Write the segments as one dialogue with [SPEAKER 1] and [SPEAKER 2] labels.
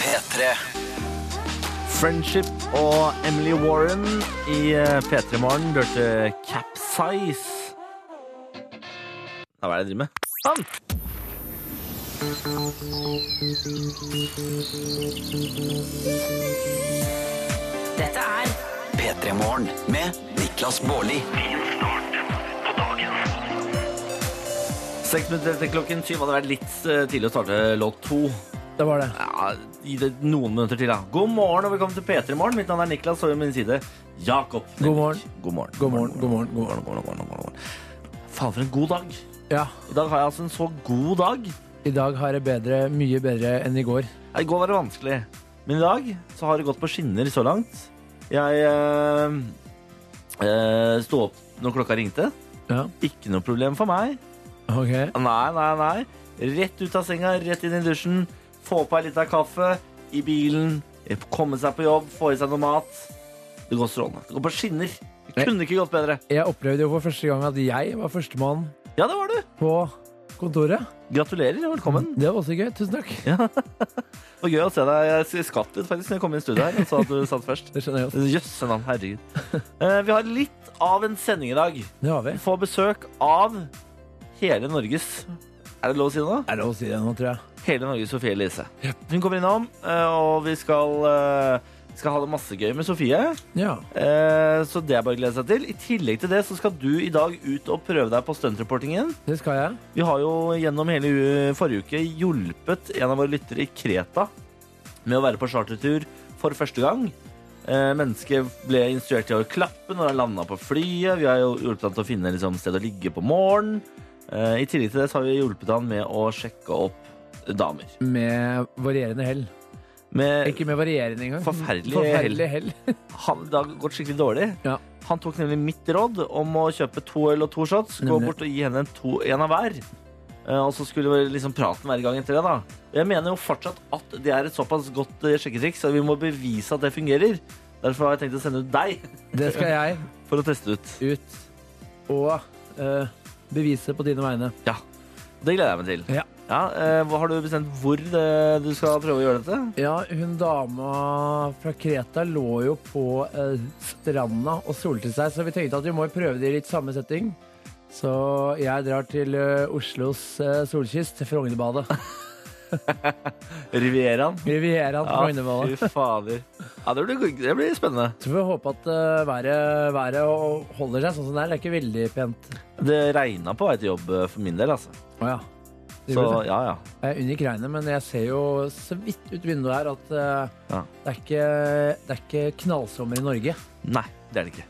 [SPEAKER 1] P3.
[SPEAKER 2] Friendship og Emily Warren i eh, P3 Morgen. Du hørte Capsize. Ja, hva er det jeg driver med? Sånn!
[SPEAKER 3] Dette er
[SPEAKER 1] P3 Morgen med Niklas Baarli.
[SPEAKER 2] Seks minutter etter klokken syv hadde vært litt eh, tidlig å starte låt to.
[SPEAKER 4] Det var det.
[SPEAKER 2] Ja, gi det noen minutter til, da. God morgen og velkommen til P3 Morgen. Mitt navn er Niklas, og ved min side Jakob.
[SPEAKER 4] God morgen.
[SPEAKER 2] God morgen.
[SPEAKER 4] God morgen, god morgen, god morgen.
[SPEAKER 2] God morgen, god morgen, god morgen. Faen, for en god dag.
[SPEAKER 4] Ja,
[SPEAKER 2] I dag har jeg altså en så god dag.
[SPEAKER 4] i dag har jeg bedre, mye bedre enn i går.
[SPEAKER 2] Ja, I går var det vanskelig, men i dag så har det gått på skinner så langt. Jeg øh, øh, sto opp når klokka ringte.
[SPEAKER 4] Ja,
[SPEAKER 2] Ikke noe problem for meg.
[SPEAKER 4] ok.
[SPEAKER 2] Nei, nei, nei. Rett ut av senga, rett inn i dusjen. Få på ei lita kaffe i bilen. Komme seg på jobb, få i seg noe mat. Det går strålende. Det går på skinner. Det kunne ikke gått bedre.
[SPEAKER 4] Jeg opplevde jo for første gang at jeg var førstemann
[SPEAKER 2] Ja, det var du.
[SPEAKER 4] på kontoret.
[SPEAKER 2] Gratulerer og velkommen.
[SPEAKER 4] Det var også gøy. Tusen takk.
[SPEAKER 2] Det var gøy å se deg. Jeg skvatt litt faktisk når jeg kom inn i studio her og sa at du satt først.
[SPEAKER 4] Det skjønner jeg godt.
[SPEAKER 2] Jøsse navn, herregud. Eh, vi har litt av en sending i dag.
[SPEAKER 4] Det har vi.
[SPEAKER 2] Vi får besøk av hele Norges Er det lov å si det nå?
[SPEAKER 4] Er det lov å si det nå, tror jeg.
[SPEAKER 2] Hele Norges Sofie Elise. Hun kommer innom, eh, og vi skal, eh, skal ha det masse gøy med Sofie.
[SPEAKER 4] Ja.
[SPEAKER 2] Eh, Så det er bare å glede seg til. I tillegg til det så skal du i dag ut og prøve deg på stuntreportingen.
[SPEAKER 4] Det skal jeg.
[SPEAKER 2] Vi har jo gjennom hele u- forrige uke hjulpet en av våre lyttere i Kreta med å være på chartertur for første gang. Eh, mennesket ble instruert til å klappe når han landa på flyet. Vi har jo hjulpet han til å finne liksom, sted å ligge på morgenen. Eh, I tillegg til det så har vi hjulpet han med å sjekke opp damer.
[SPEAKER 4] Med varierende hell.
[SPEAKER 2] Med,
[SPEAKER 4] Ikke med varierende engang.
[SPEAKER 2] Forferdelig
[SPEAKER 4] Forferdelig hell.
[SPEAKER 2] han, det har gått skikkelig dårlig.
[SPEAKER 4] Ja.
[SPEAKER 2] Han tok nemlig mitt råd om å kjøpe to øl og to shots, gå
[SPEAKER 4] Nemlig.
[SPEAKER 2] bort og gi henne en, to, en av hver. Eh, Og så skulle vel liksom praten være i gang etter det, da. Og Jeg mener jo fortsatt at det er et såpass godt eh, sjekketriks, og vi må bevise at det fungerer. Derfor har jeg tenkt å sende ut deg
[SPEAKER 4] Det skal jeg
[SPEAKER 2] for å teste ut.
[SPEAKER 4] ut og eh, bevise på dine vegne.
[SPEAKER 2] Ja. Det gleder jeg meg til.
[SPEAKER 4] Ja.
[SPEAKER 2] eh, hva- har du bestemt hvor det, du skal prøve å gjøre dette?
[SPEAKER 4] Ja, hun dama fra Kreta lå jo på eh, stranda og solte seg, så vi tenkte at vi må prøve det i litt samme setting. Så jeg drar til eh, Oslos eh, solkyst, Frognerbadet.
[SPEAKER 2] Rivieraen?
[SPEAKER 4] Rivieraen
[SPEAKER 2] Ja,
[SPEAKER 4] Frognerbadet.
[SPEAKER 2] fy fader. Ja, det blir, det blir spennende.
[SPEAKER 4] Så får vi håpe at eh, været, været holder seg sånn som det er. Det er ikke veldig pent.
[SPEAKER 2] Det regna på vei til jobb eh, for min del, altså.
[SPEAKER 4] Å ja. Det
[SPEAKER 2] Så
[SPEAKER 4] gjorde det.
[SPEAKER 2] ja, ja.
[SPEAKER 4] Jeg unngikk regnet, men jeg ser jo så vidt ut vinduet her at eh,
[SPEAKER 2] Ja.
[SPEAKER 4] det, er ikke, det er ikke knallsommer i Norge.
[SPEAKER 2] Nei, det er det ikke.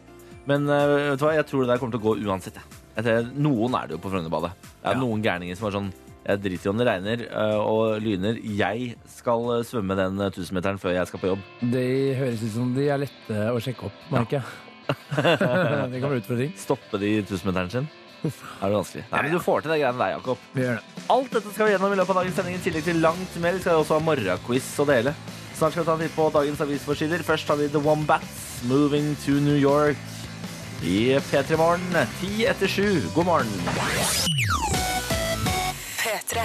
[SPEAKER 2] Men eh, vet du hva, jeg tror det der kommer til å gå uansett. Jeg. Jeg tror, noen er det jo på Frognerbadet. Det er
[SPEAKER 4] Ja.
[SPEAKER 2] noen gærninger som er sånn Jeg driter i om det regner eh, og lyner. Jeg skal eh, svømme den eh, 1000-meteren før jeg skal på jobb.
[SPEAKER 4] De høres ut som de er lette å sjekke opp, merker jeg. det kan bli utfordring.
[SPEAKER 2] Stoppe de 1000-meteren sin. Er det vanskelig? Nei, men Du får til det greiene der, Jakob.
[SPEAKER 4] Vi gjør det.
[SPEAKER 2] Alt dette skal vi gjennom i løpet av dagens sending. I tillegg til langt mer skal vi også ha morgenquiz og det hele. Snart skal vi ta en titt på dagens avisforsider. Først har vi The Wombats, 'Moving to New York' i P3 Morgen. Ti etter sju. God morgen.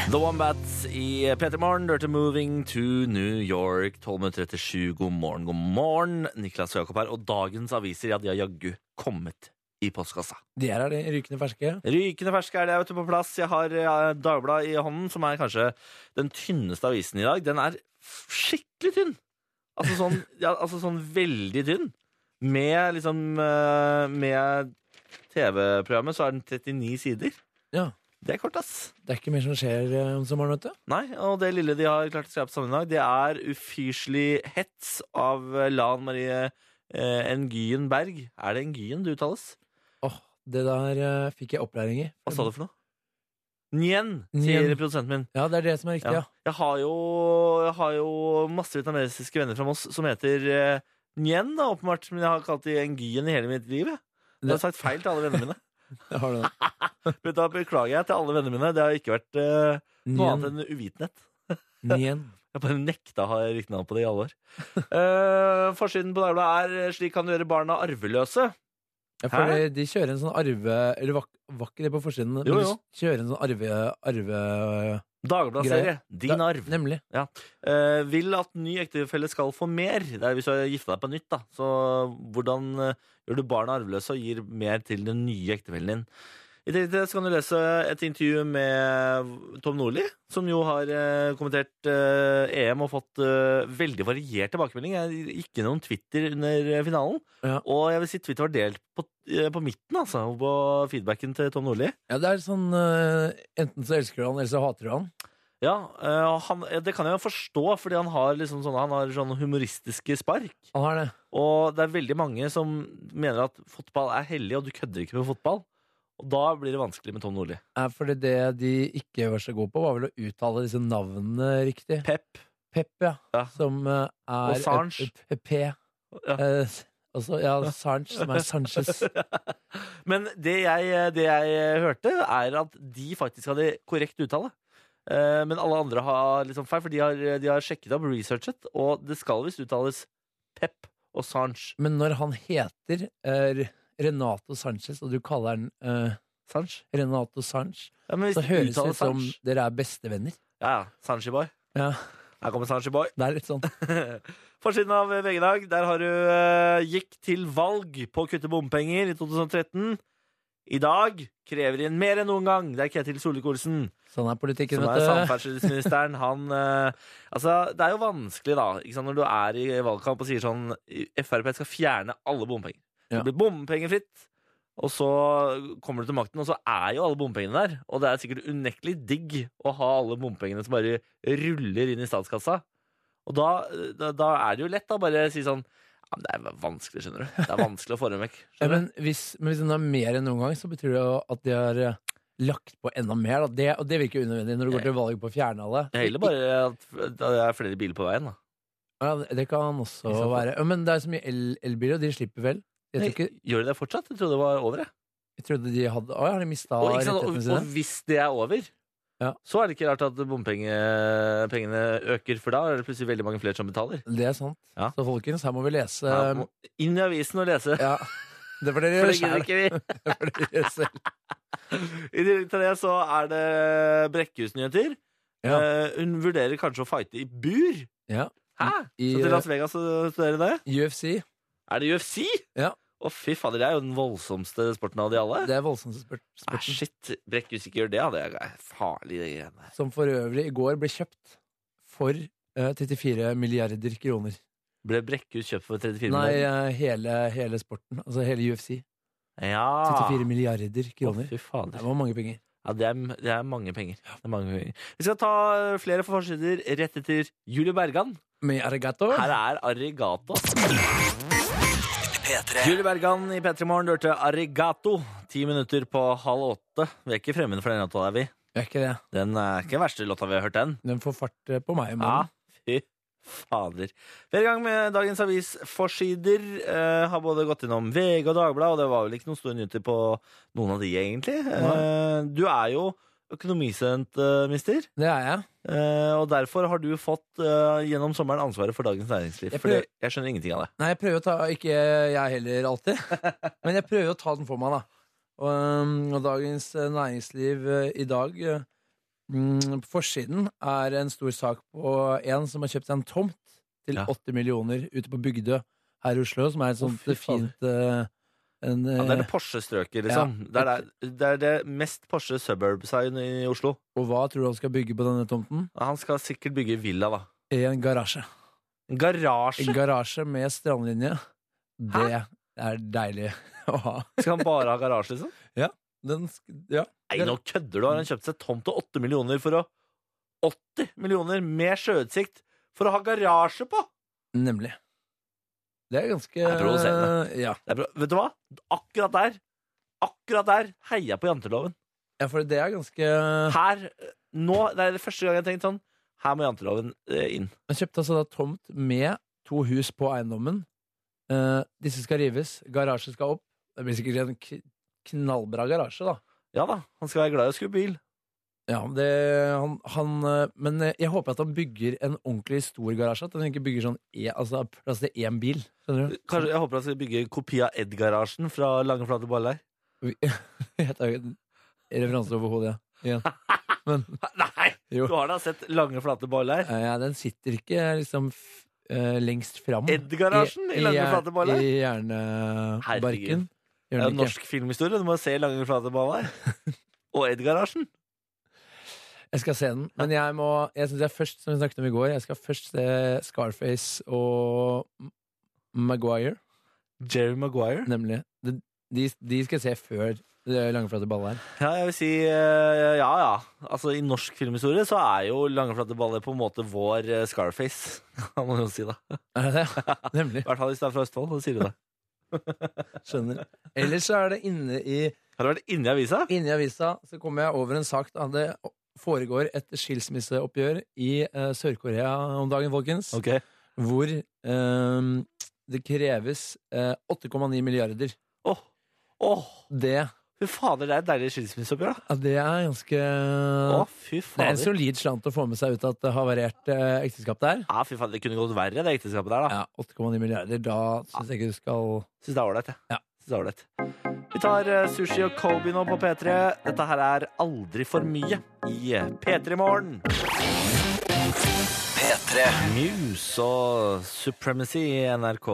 [SPEAKER 2] The Wombats i P3 Morgen, du hørte 'Moving to New York'. 12 minutter etter sju. God morgen, god morgen. Niklas og Jakob her. Og dagens aviser, ja, de har jaggu kommet i postkassa.
[SPEAKER 4] De her er de rykende ferske.
[SPEAKER 2] Rykende ferske er det, vet du, på plass. Jeg har eh, Dagbladet i hånden, som er kanskje den tynneste avisen i dag. Den er f- skikkelig tynn! Altså sånn, ja, altså sånn veldig tynn. Med liksom eh, Med TV-programmet så er den 39 sider.
[SPEAKER 4] Ja.
[SPEAKER 2] Det er kort, ass.
[SPEAKER 4] Det er ikke mer som skjer eh, om sommeren, vet du.
[SPEAKER 2] Nei, og det lille de har klart å skrive på samme dag, det er ufyselig hets av eh, Lan Marie eh, Ngyen Berg. Er det Ngyen det uttales?
[SPEAKER 4] Åh, det der eh, fikk jeg opplæring i.
[SPEAKER 2] Hva sa du for noe? Nyen, sier
[SPEAKER 4] Nyen.
[SPEAKER 2] produsenten min.
[SPEAKER 4] Ja, det er det som er riktig,
[SPEAKER 2] Ja.
[SPEAKER 4] ja.
[SPEAKER 2] Jeg har jo, jeg har jo masse vietnamesiske venner fra Moss som heter uh, Nyen, da, åpenbart. Men jeg har kalt de Ngyen i hele mitt liv. Jeg. Jeg har
[SPEAKER 4] Det-
[SPEAKER 2] sagt feil til alle vennene mine.
[SPEAKER 4] Det har du det.
[SPEAKER 2] Men da beklager jeg til alle vennene mine. Det har ikke vært eh, noe
[SPEAKER 4] Nien.
[SPEAKER 2] annet enn uvitenhet.
[SPEAKER 4] Nien.
[SPEAKER 2] Jeg bare nekta å ha riktig navn på det i alle år. Eh, forsiden på Dagbladet er eh, 'Slik kan du gjøre barna arveløse'.
[SPEAKER 4] Ja, for
[SPEAKER 2] Hæ?
[SPEAKER 4] de- de kjører en sånn arve... Eller var, var ikke det på forsiden? men
[SPEAKER 2] Jo, jo.
[SPEAKER 4] De kjører en sånn arve... arve
[SPEAKER 2] Dagbladet-serie. Din
[SPEAKER 4] Da-
[SPEAKER 2] arv.
[SPEAKER 4] Nemlig.
[SPEAKER 2] Eh, vil at ny ektefelle skal få mer. Det er hvis du har gifta deg på nytt, da. Så hvordan eh, gjør du barna arveløse og gir mer til den nye ektefellen din? I tillegg til det så kan du lese et intervju med Tom Nordli, som jo har eh, kommentert eh, EM og fått eh, veldig variert tilbakemelding. Jeg gikk gjennom Twitter under eh, finalen,
[SPEAKER 4] Ja.
[SPEAKER 2] og jeg vil si Twitter var delt på, eh, på midten, altså, på feedbacken til Tom Nordli.
[SPEAKER 4] Ja, det er sånn eh, Enten så elsker du han, eller så hater du han.
[SPEAKER 2] Ja, eh, og han, ja, det kan jeg jo forstå, fordi han har liksom sånne, han har sånne humoristiske spark.
[SPEAKER 4] Han har det.
[SPEAKER 2] Og det er veldig mange som mener at fotball er hellig, og du kødder ikke med fotball. Og da blir det vanskelig med Tom Nordli.
[SPEAKER 4] Ja, fordi det de ikke var så gode på, var vel å uttale disse navnene riktig.
[SPEAKER 2] Pep.
[SPEAKER 4] Pep, ja.
[SPEAKER 2] Ja.
[SPEAKER 4] Som eh, er
[SPEAKER 2] Og Sarge.
[SPEAKER 4] et- et P.
[SPEAKER 2] Ja.
[SPEAKER 4] Eh, også, ja, Sarge, som er Sanchez.
[SPEAKER 2] Men det jeg, det jeg hørte, er at de faktisk hadde korrekt uttale. Eh, Men alle andre har liksom feil, for de har, de har sjekket opp, researchet, og det skal visst uttales Pep og Sanche.
[SPEAKER 4] Men når han heter eh, Renato Sanchez, og du kaller han eh,
[SPEAKER 2] Sanche?
[SPEAKER 4] Renato Sanche,
[SPEAKER 2] Ja, men hvis
[SPEAKER 4] så
[SPEAKER 2] de
[SPEAKER 4] høres det
[SPEAKER 2] uttaler
[SPEAKER 4] ut som
[SPEAKER 2] Sanche-
[SPEAKER 4] dere er bestevenner.
[SPEAKER 2] Ja, ja. Sanche-boy.
[SPEAKER 4] Ja,
[SPEAKER 2] Her kommer Sanche-boy.
[SPEAKER 4] det er litt sånn.
[SPEAKER 2] Forsiden av VG i dag, der har du eh, gikk til valg på å kutte bompenger i 2013. I dag krever inn mer enn noen gang. Det er Ketil Solvik-Olsen,
[SPEAKER 4] Sånn er politikken,
[SPEAKER 2] som er
[SPEAKER 4] vet du.
[SPEAKER 2] samferdselsministeren. Han eh, Altså, det er jo vanskelig, da, ikke sant, når du er i valgkamp og sier sånn Frp skal fjerne alle bompenger.
[SPEAKER 4] Ja.
[SPEAKER 2] Det blir bompengefritt. Og så kommer du til makten, og så er jo alle bompengene der. Og det er sikkert unektelig digg å ha alle bompengene som bare ruller inn i statskassa. Og da, da, da er det jo lett å bare si sånn ja, men Det er vanskelig, skjønner du. Det er vanskelig å få dem vekk.
[SPEAKER 4] Ja,
[SPEAKER 2] skjønner du?
[SPEAKER 4] men, hvis, men hvis den er mer enn noen gang, så betyr det jo at de har eh, lagt på enda mer. Da. Det, og det virker unødvendig når du går til valg på å fjerne alle.
[SPEAKER 2] Det er heller bare at det er flere biler på veien, da.
[SPEAKER 4] Ja, det kan også
[SPEAKER 2] Ikke sant?
[SPEAKER 4] være. Ja, Men det er så mye el elbiler, og de slipper vel? Jeg, tror ikke,
[SPEAKER 2] Gjør de det fortsatt? Jeg trodde det var over, jeg.
[SPEAKER 4] jeg trodde de hadde Å, har de mista
[SPEAKER 2] Og, ikke sant, og,
[SPEAKER 4] rettighetene sine?
[SPEAKER 2] og hvis det er over,
[SPEAKER 4] Ja.
[SPEAKER 2] så er det ikke rart at bompengepengene øker, for da er det plutselig veldig mange flere som betaler.
[SPEAKER 4] Det er sant.
[SPEAKER 2] Ja.
[SPEAKER 4] Så folkens, her må vi lese
[SPEAKER 2] Ja,
[SPEAKER 4] Ja,
[SPEAKER 2] må inn i avisen og lese.
[SPEAKER 4] Det får dere
[SPEAKER 2] For det gidder
[SPEAKER 4] gjøre selv.
[SPEAKER 2] ikke vi.
[SPEAKER 4] Det får dere gjøre selv.
[SPEAKER 2] I tillegg til det så er det Brekkhus-nyheter.
[SPEAKER 4] Ja.
[SPEAKER 2] Eh, hun vurderer kanskje å fighte i bur.
[SPEAKER 4] Ja.
[SPEAKER 2] Hæ?
[SPEAKER 4] I
[SPEAKER 2] Så til
[SPEAKER 4] eh,
[SPEAKER 2] Las Vegas og studere det?
[SPEAKER 4] UFC.
[SPEAKER 2] Er det UFC?
[SPEAKER 4] Ja.
[SPEAKER 2] Å, fy fader, det er jo den voldsomste sporten av de alle.
[SPEAKER 4] Det er voldsomt spør
[SPEAKER 2] Ah,
[SPEAKER 4] spørsmål.
[SPEAKER 2] shit, Brekkhus ikke gjør det, ja. Det er farlig, det greiene der.
[SPEAKER 4] Som for øvrig i går ble kjøpt for eh, 34 milliarder kroner.
[SPEAKER 2] Ble Brekkhus kjøpt for 34
[SPEAKER 4] Nei,
[SPEAKER 2] millioner?
[SPEAKER 4] eh, hele, hele sporten. Altså hele UFC.
[SPEAKER 2] Ja.
[SPEAKER 4] 34 milliarder
[SPEAKER 2] Ah. Å,
[SPEAKER 4] kroner.
[SPEAKER 2] fy fader.
[SPEAKER 4] Det var mange penger.
[SPEAKER 2] Ja, det er, det er mange penger. Det er mange penger. Vi skal ta eh, flere forsider rett etter Julie Bergan.
[SPEAKER 4] Med Arigato.
[SPEAKER 2] Her er Arigato.
[SPEAKER 1] P3.
[SPEAKER 2] Julie Bergan i P3 Morgen hørte Arigato. Ti minutter på halv åtte. Vi er ikke fremmede for den låta der, vi.
[SPEAKER 4] Det er ikke det.
[SPEAKER 2] Den er ikke den verste låta vi har hørt, den.
[SPEAKER 4] Den får fart eh, på meg. i morgen.
[SPEAKER 2] Ja, fy fader. Vi er i gang med dagens avisforsider. Eh, har både gått innom VG og Dagbladet, og det var vel ikke noen store nyheter på noen av de, egentlig. Eh, du er jo økonomisent, eh, mister.
[SPEAKER 4] Det er jeg.
[SPEAKER 2] Eh, og derfor har du fått eh, gjennom sommeren ansvaret for Dagens Næringsliv.
[SPEAKER 4] Jeg
[SPEAKER 2] For
[SPEAKER 4] prøver-
[SPEAKER 2] det- jeg skjønner ingenting av det.
[SPEAKER 4] Nei, jeg prøver å ta Ikke jeg heller alltid, men jeg prøver å ta den for meg, da. Og, um, og Dagens eh, Næringsliv eh, i dag eh, mm, På forsiden er en stor sak på en som har kjøpt seg en tomt til
[SPEAKER 2] Ja.
[SPEAKER 4] 80 millioner ute på Bygdø her i Oslo, som er et sånt
[SPEAKER 2] fy faen.
[SPEAKER 4] fint eh, en,
[SPEAKER 2] Ja, det er
[SPEAKER 4] eh,
[SPEAKER 2] det Porsche-strøket, liksom. Det, er, det- det er det mest Porsche suburbs-sign i Oslo.
[SPEAKER 4] eh, Og hva tror du han skal bygge på denne tomten?
[SPEAKER 2] Han skal sikkert bygge villa, da.
[SPEAKER 4] En garasje.
[SPEAKER 2] En
[SPEAKER 4] En
[SPEAKER 2] garasje!
[SPEAKER 4] garasje med strandlinje. Det er deilig å ha.
[SPEAKER 2] Skal han bare ha garasje, liksom?
[SPEAKER 4] Den, sk- ja.
[SPEAKER 2] Nei, nå kødder du! Har han kjøpt seg tomt til 8 millioner for å 80 millioner med sjøutsikt for å ha garasje på?!
[SPEAKER 4] Nemlig. Det er ganske
[SPEAKER 2] er provoserende.
[SPEAKER 4] Ja.
[SPEAKER 2] Det er bra. Vet du hva? Akkurat der, akkurat der heier jeg på janteloven.
[SPEAKER 4] ja, for det er ganske
[SPEAKER 2] Her, eh, nå, det er det første gang jeg har tenkt sånn. Her må janteloven eh, inn.
[SPEAKER 4] Han kjøpte altså da tomt med to hus på eiendommen. Eh, disse skal rives, garasje skal opp. Det blir sikkert en k knallbra garasje, da.
[SPEAKER 2] Ja da, han skal være glad i å skru bil.
[SPEAKER 4] Ja, det, han, han, eh, men eh, jeg håper at han bygger en ordentlig stor garasje. At han ikke bygger sånn e, altså, plass til én bil. Skjønner du?
[SPEAKER 2] Kanskje, jeg håper han skal bygge en kopi av Ed-garasjen fra Lange Flate Baller.
[SPEAKER 4] Jeg tar jo en referanse over hodet. Ja. men
[SPEAKER 2] Nei!
[SPEAKER 4] Jo.
[SPEAKER 2] Du har da sett lange, flate baller?
[SPEAKER 4] eh, ja, den sitter ikke liksom f- eh, lengst fram.
[SPEAKER 2] Edgar-Larsen i lange,
[SPEAKER 4] hjer-
[SPEAKER 2] flate baller?
[SPEAKER 4] I hjernebarken.
[SPEAKER 2] Herregud. Det er
[SPEAKER 4] Gjør den
[SPEAKER 2] jo
[SPEAKER 4] ikke.
[SPEAKER 2] norsk filmhistorie. Du må se lange, flate baller. Og Edgar-Larsen.
[SPEAKER 4] Jeg skal se den, men jeg må Jeg synes jeg først, som vi snakket om i går, jeg skal først se Scarface og M- Maguire,
[SPEAKER 2] Jerry Maguire.
[SPEAKER 4] nemlig. De, de, de skal jeg se før det Langeflate baller.
[SPEAKER 2] Ja, jeg vil si eh, ja, ja. Altså, I norsk filmhistorie så er jo lange, flate baller på en måte vår eh, Scarface. Kan man jo si da.
[SPEAKER 4] Er det det? Nemlig.
[SPEAKER 2] I hvert fall hvis du er fra Østfold, så sier du det.
[SPEAKER 4] Skjønner. Ellers så er det inne i,
[SPEAKER 2] Har du vært inne i avisa?
[SPEAKER 4] inne i avisa så kommer jeg over en sak at det foregår et skilsmisseoppgjør i eh, Sør-Korea om dagen, folkens.
[SPEAKER 2] Ok.
[SPEAKER 4] Hvor eh, det kreves eh, 8,9 milliarder.
[SPEAKER 2] Åh, åh.
[SPEAKER 4] Det,
[SPEAKER 2] Fy fader, det er et deilig skilsmisseoppgjør, da.
[SPEAKER 4] ja, det er ganske
[SPEAKER 2] Å, fy
[SPEAKER 4] Det er en
[SPEAKER 2] fader.
[SPEAKER 4] solid slant å få med seg ut at det har variert eh, ekteskap der.
[SPEAKER 2] Ja, fy fader, Det kunne gått verre, det ekteskapet der. da
[SPEAKER 4] Ja, 8,9 milliarder. Da syns jeg ikke du skal
[SPEAKER 2] Syns det er ålreit, jeg.
[SPEAKER 4] Ja.
[SPEAKER 2] Synes det er ålreit. Vi tar eh, Sushi og Kobe nå på P3. Dette her er Aldri for mye i eh, P3 Morgen.
[SPEAKER 1] P3
[SPEAKER 2] Muse og Supremacy i NRK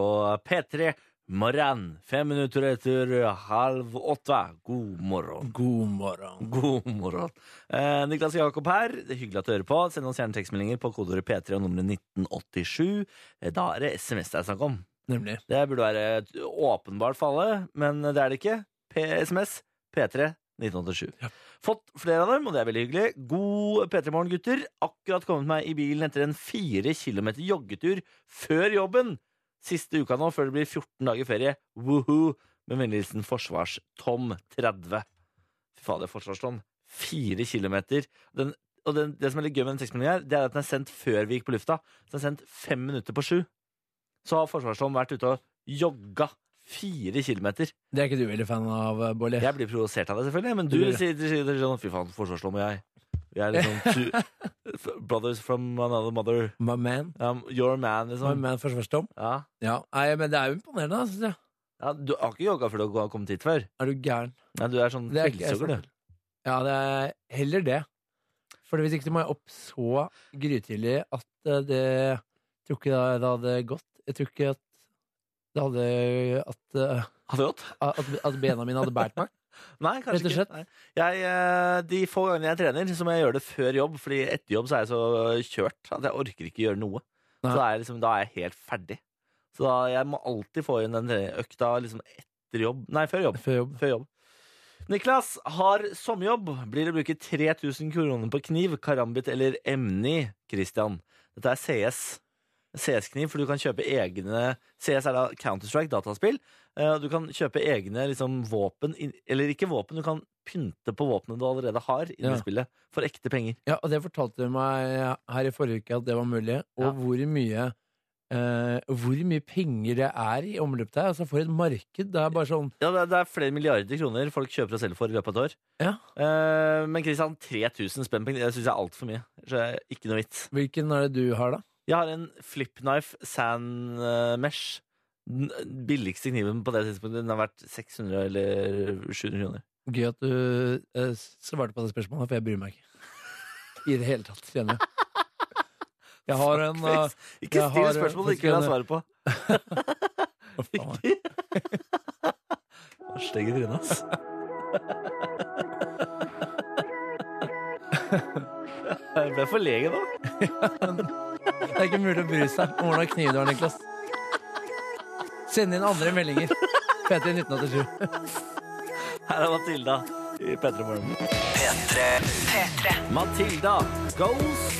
[SPEAKER 2] P3 morgen. Fem minutter etter halv åtte. God morgen.
[SPEAKER 4] God morgen.
[SPEAKER 2] God morgen. Eh, Niklas Jakob her. Det er Hyggelig at du hører på. Send oss gjerne tekstmeldinger på kodeordet P3 og nummeret 1987. Eh, Da er det SMS det er snakk om.
[SPEAKER 4] Nemlig.
[SPEAKER 2] Det burde være åpenbart for alle, men det er det ikke. P SMS P3 1987.
[SPEAKER 4] Ja.
[SPEAKER 2] Fått flere av dem, og det er veldig hyggelig. God P3-morgen, gutter. Akkurat kommet meg i bilen etter en fire kilometer joggetur før jobben. Siste uka nå, før det blir 14 dager ferie. Woohoo! Med vennlig hilsen Forsvars-Tom 30. Fy fader, Forsvars-Tom. Fire kilometer. Den, og den, det som er litt gøy med den tekstmeldingen her, det er at den er sendt før vi gikk på lufta. Så den er sendt fem minutter på sju. Så har Forsvarstom vært ute og jogga fire kilometer.
[SPEAKER 4] Det er ikke du veldig fan av, Bolli.
[SPEAKER 2] Jeg blir provosert av det, selvfølgelig, men du
[SPEAKER 4] Du blir det.
[SPEAKER 2] sier, sier, sier sånn Fy faen, Forsvarstom og jeg. Vi er liksom two, brothers from another mother.
[SPEAKER 4] My man.
[SPEAKER 2] Um, your man,
[SPEAKER 4] My
[SPEAKER 2] liksom.
[SPEAKER 4] man forsvarstom.
[SPEAKER 2] Ja.
[SPEAKER 4] Ja, Nei, men det er jo imponerende, da, syns jeg.
[SPEAKER 2] ja, Du har ikke jogga før du har kommet hit før?
[SPEAKER 4] Er du gæren?
[SPEAKER 2] Nei, du er sånn
[SPEAKER 4] Det er ikke-
[SPEAKER 2] kveldsjogger, du.
[SPEAKER 4] Ja, det er heller det. For hvis ikke så må jeg opp så grytidlig at eh, det Jeg tror ikke det det hadde gått. Jeg tror ikke at det hadde At, eh,
[SPEAKER 2] Har vi gått?
[SPEAKER 4] at, at bena mine hadde båret meg.
[SPEAKER 2] Nei, kanskje
[SPEAKER 4] Rett og slett.
[SPEAKER 2] ikke. Nei. Jeg, eh, de få gangene jeg trener, så må jeg gjøre det før jobb, Fordi etter jobb så er jeg så kjørt at jeg orker ikke gjøre noe.
[SPEAKER 4] Nei.
[SPEAKER 2] Så da er, jeg liksom, da er jeg helt ferdig. Så da, jeg må alltid få inn den økta liksom etter jobb Nei, før jobb.
[SPEAKER 4] Før jobb.
[SPEAKER 2] Før jobb. Niklas har sommerjobb. Blir det å bruke 3000 kroner på kniv, karambit eller emni, Christian? Dette er CS. CS-kniv, for du kan kjøpe egne CS er da Counter-Strike, dataspill. Eh, Du kan kjøpe egne liksom, våpen, inn- eller ikke våpen, du kan pynte på våpnene du allerede har inni
[SPEAKER 4] Ja.
[SPEAKER 2] spillet, for ekte penger.
[SPEAKER 4] Ja, og det fortalte du meg her i forrige uke at det var mulig. Og
[SPEAKER 2] Ja.
[SPEAKER 4] hvor mye eh, Hvor mye penger det er i omløp der. Altså for et marked. Det er bare sånn
[SPEAKER 2] Ja, det er- det er flere milliarder kroner folk kjøper og selger for i løpet av et år.
[SPEAKER 4] Ja.
[SPEAKER 2] Eh, Men Christian, 3000 spenn på kniv, det syns jeg er altfor mye. Så jeg- ikke noe vits.
[SPEAKER 4] Hvilken er det du har, da?
[SPEAKER 2] Jeg har en flipknife sand eh, mesh. Den billigste kniven på det tidspunktet Den har vært 600 eller 700 kroner.
[SPEAKER 4] Gøy at du eh, svarte på det spørsmålet, for jeg bryr meg ikke. I det hele tatt, kjenner jeg. Jeg har en eh,
[SPEAKER 2] Ikke still
[SPEAKER 4] jeg har, eh,
[SPEAKER 2] spørsmål du ikke vil ha
[SPEAKER 4] faktisk
[SPEAKER 2] svaret på.
[SPEAKER 4] å, faen,
[SPEAKER 2] Stygg i trynet, ass. Jeg ble forlegen nå.
[SPEAKER 4] Det er ikke mulig å bry seg om hvordan kniv du har, Niklas. Send inn andre meldinger. P3 1987.
[SPEAKER 2] Her er Matilda i P3 Morgen.
[SPEAKER 1] P3
[SPEAKER 2] Matilda Ghost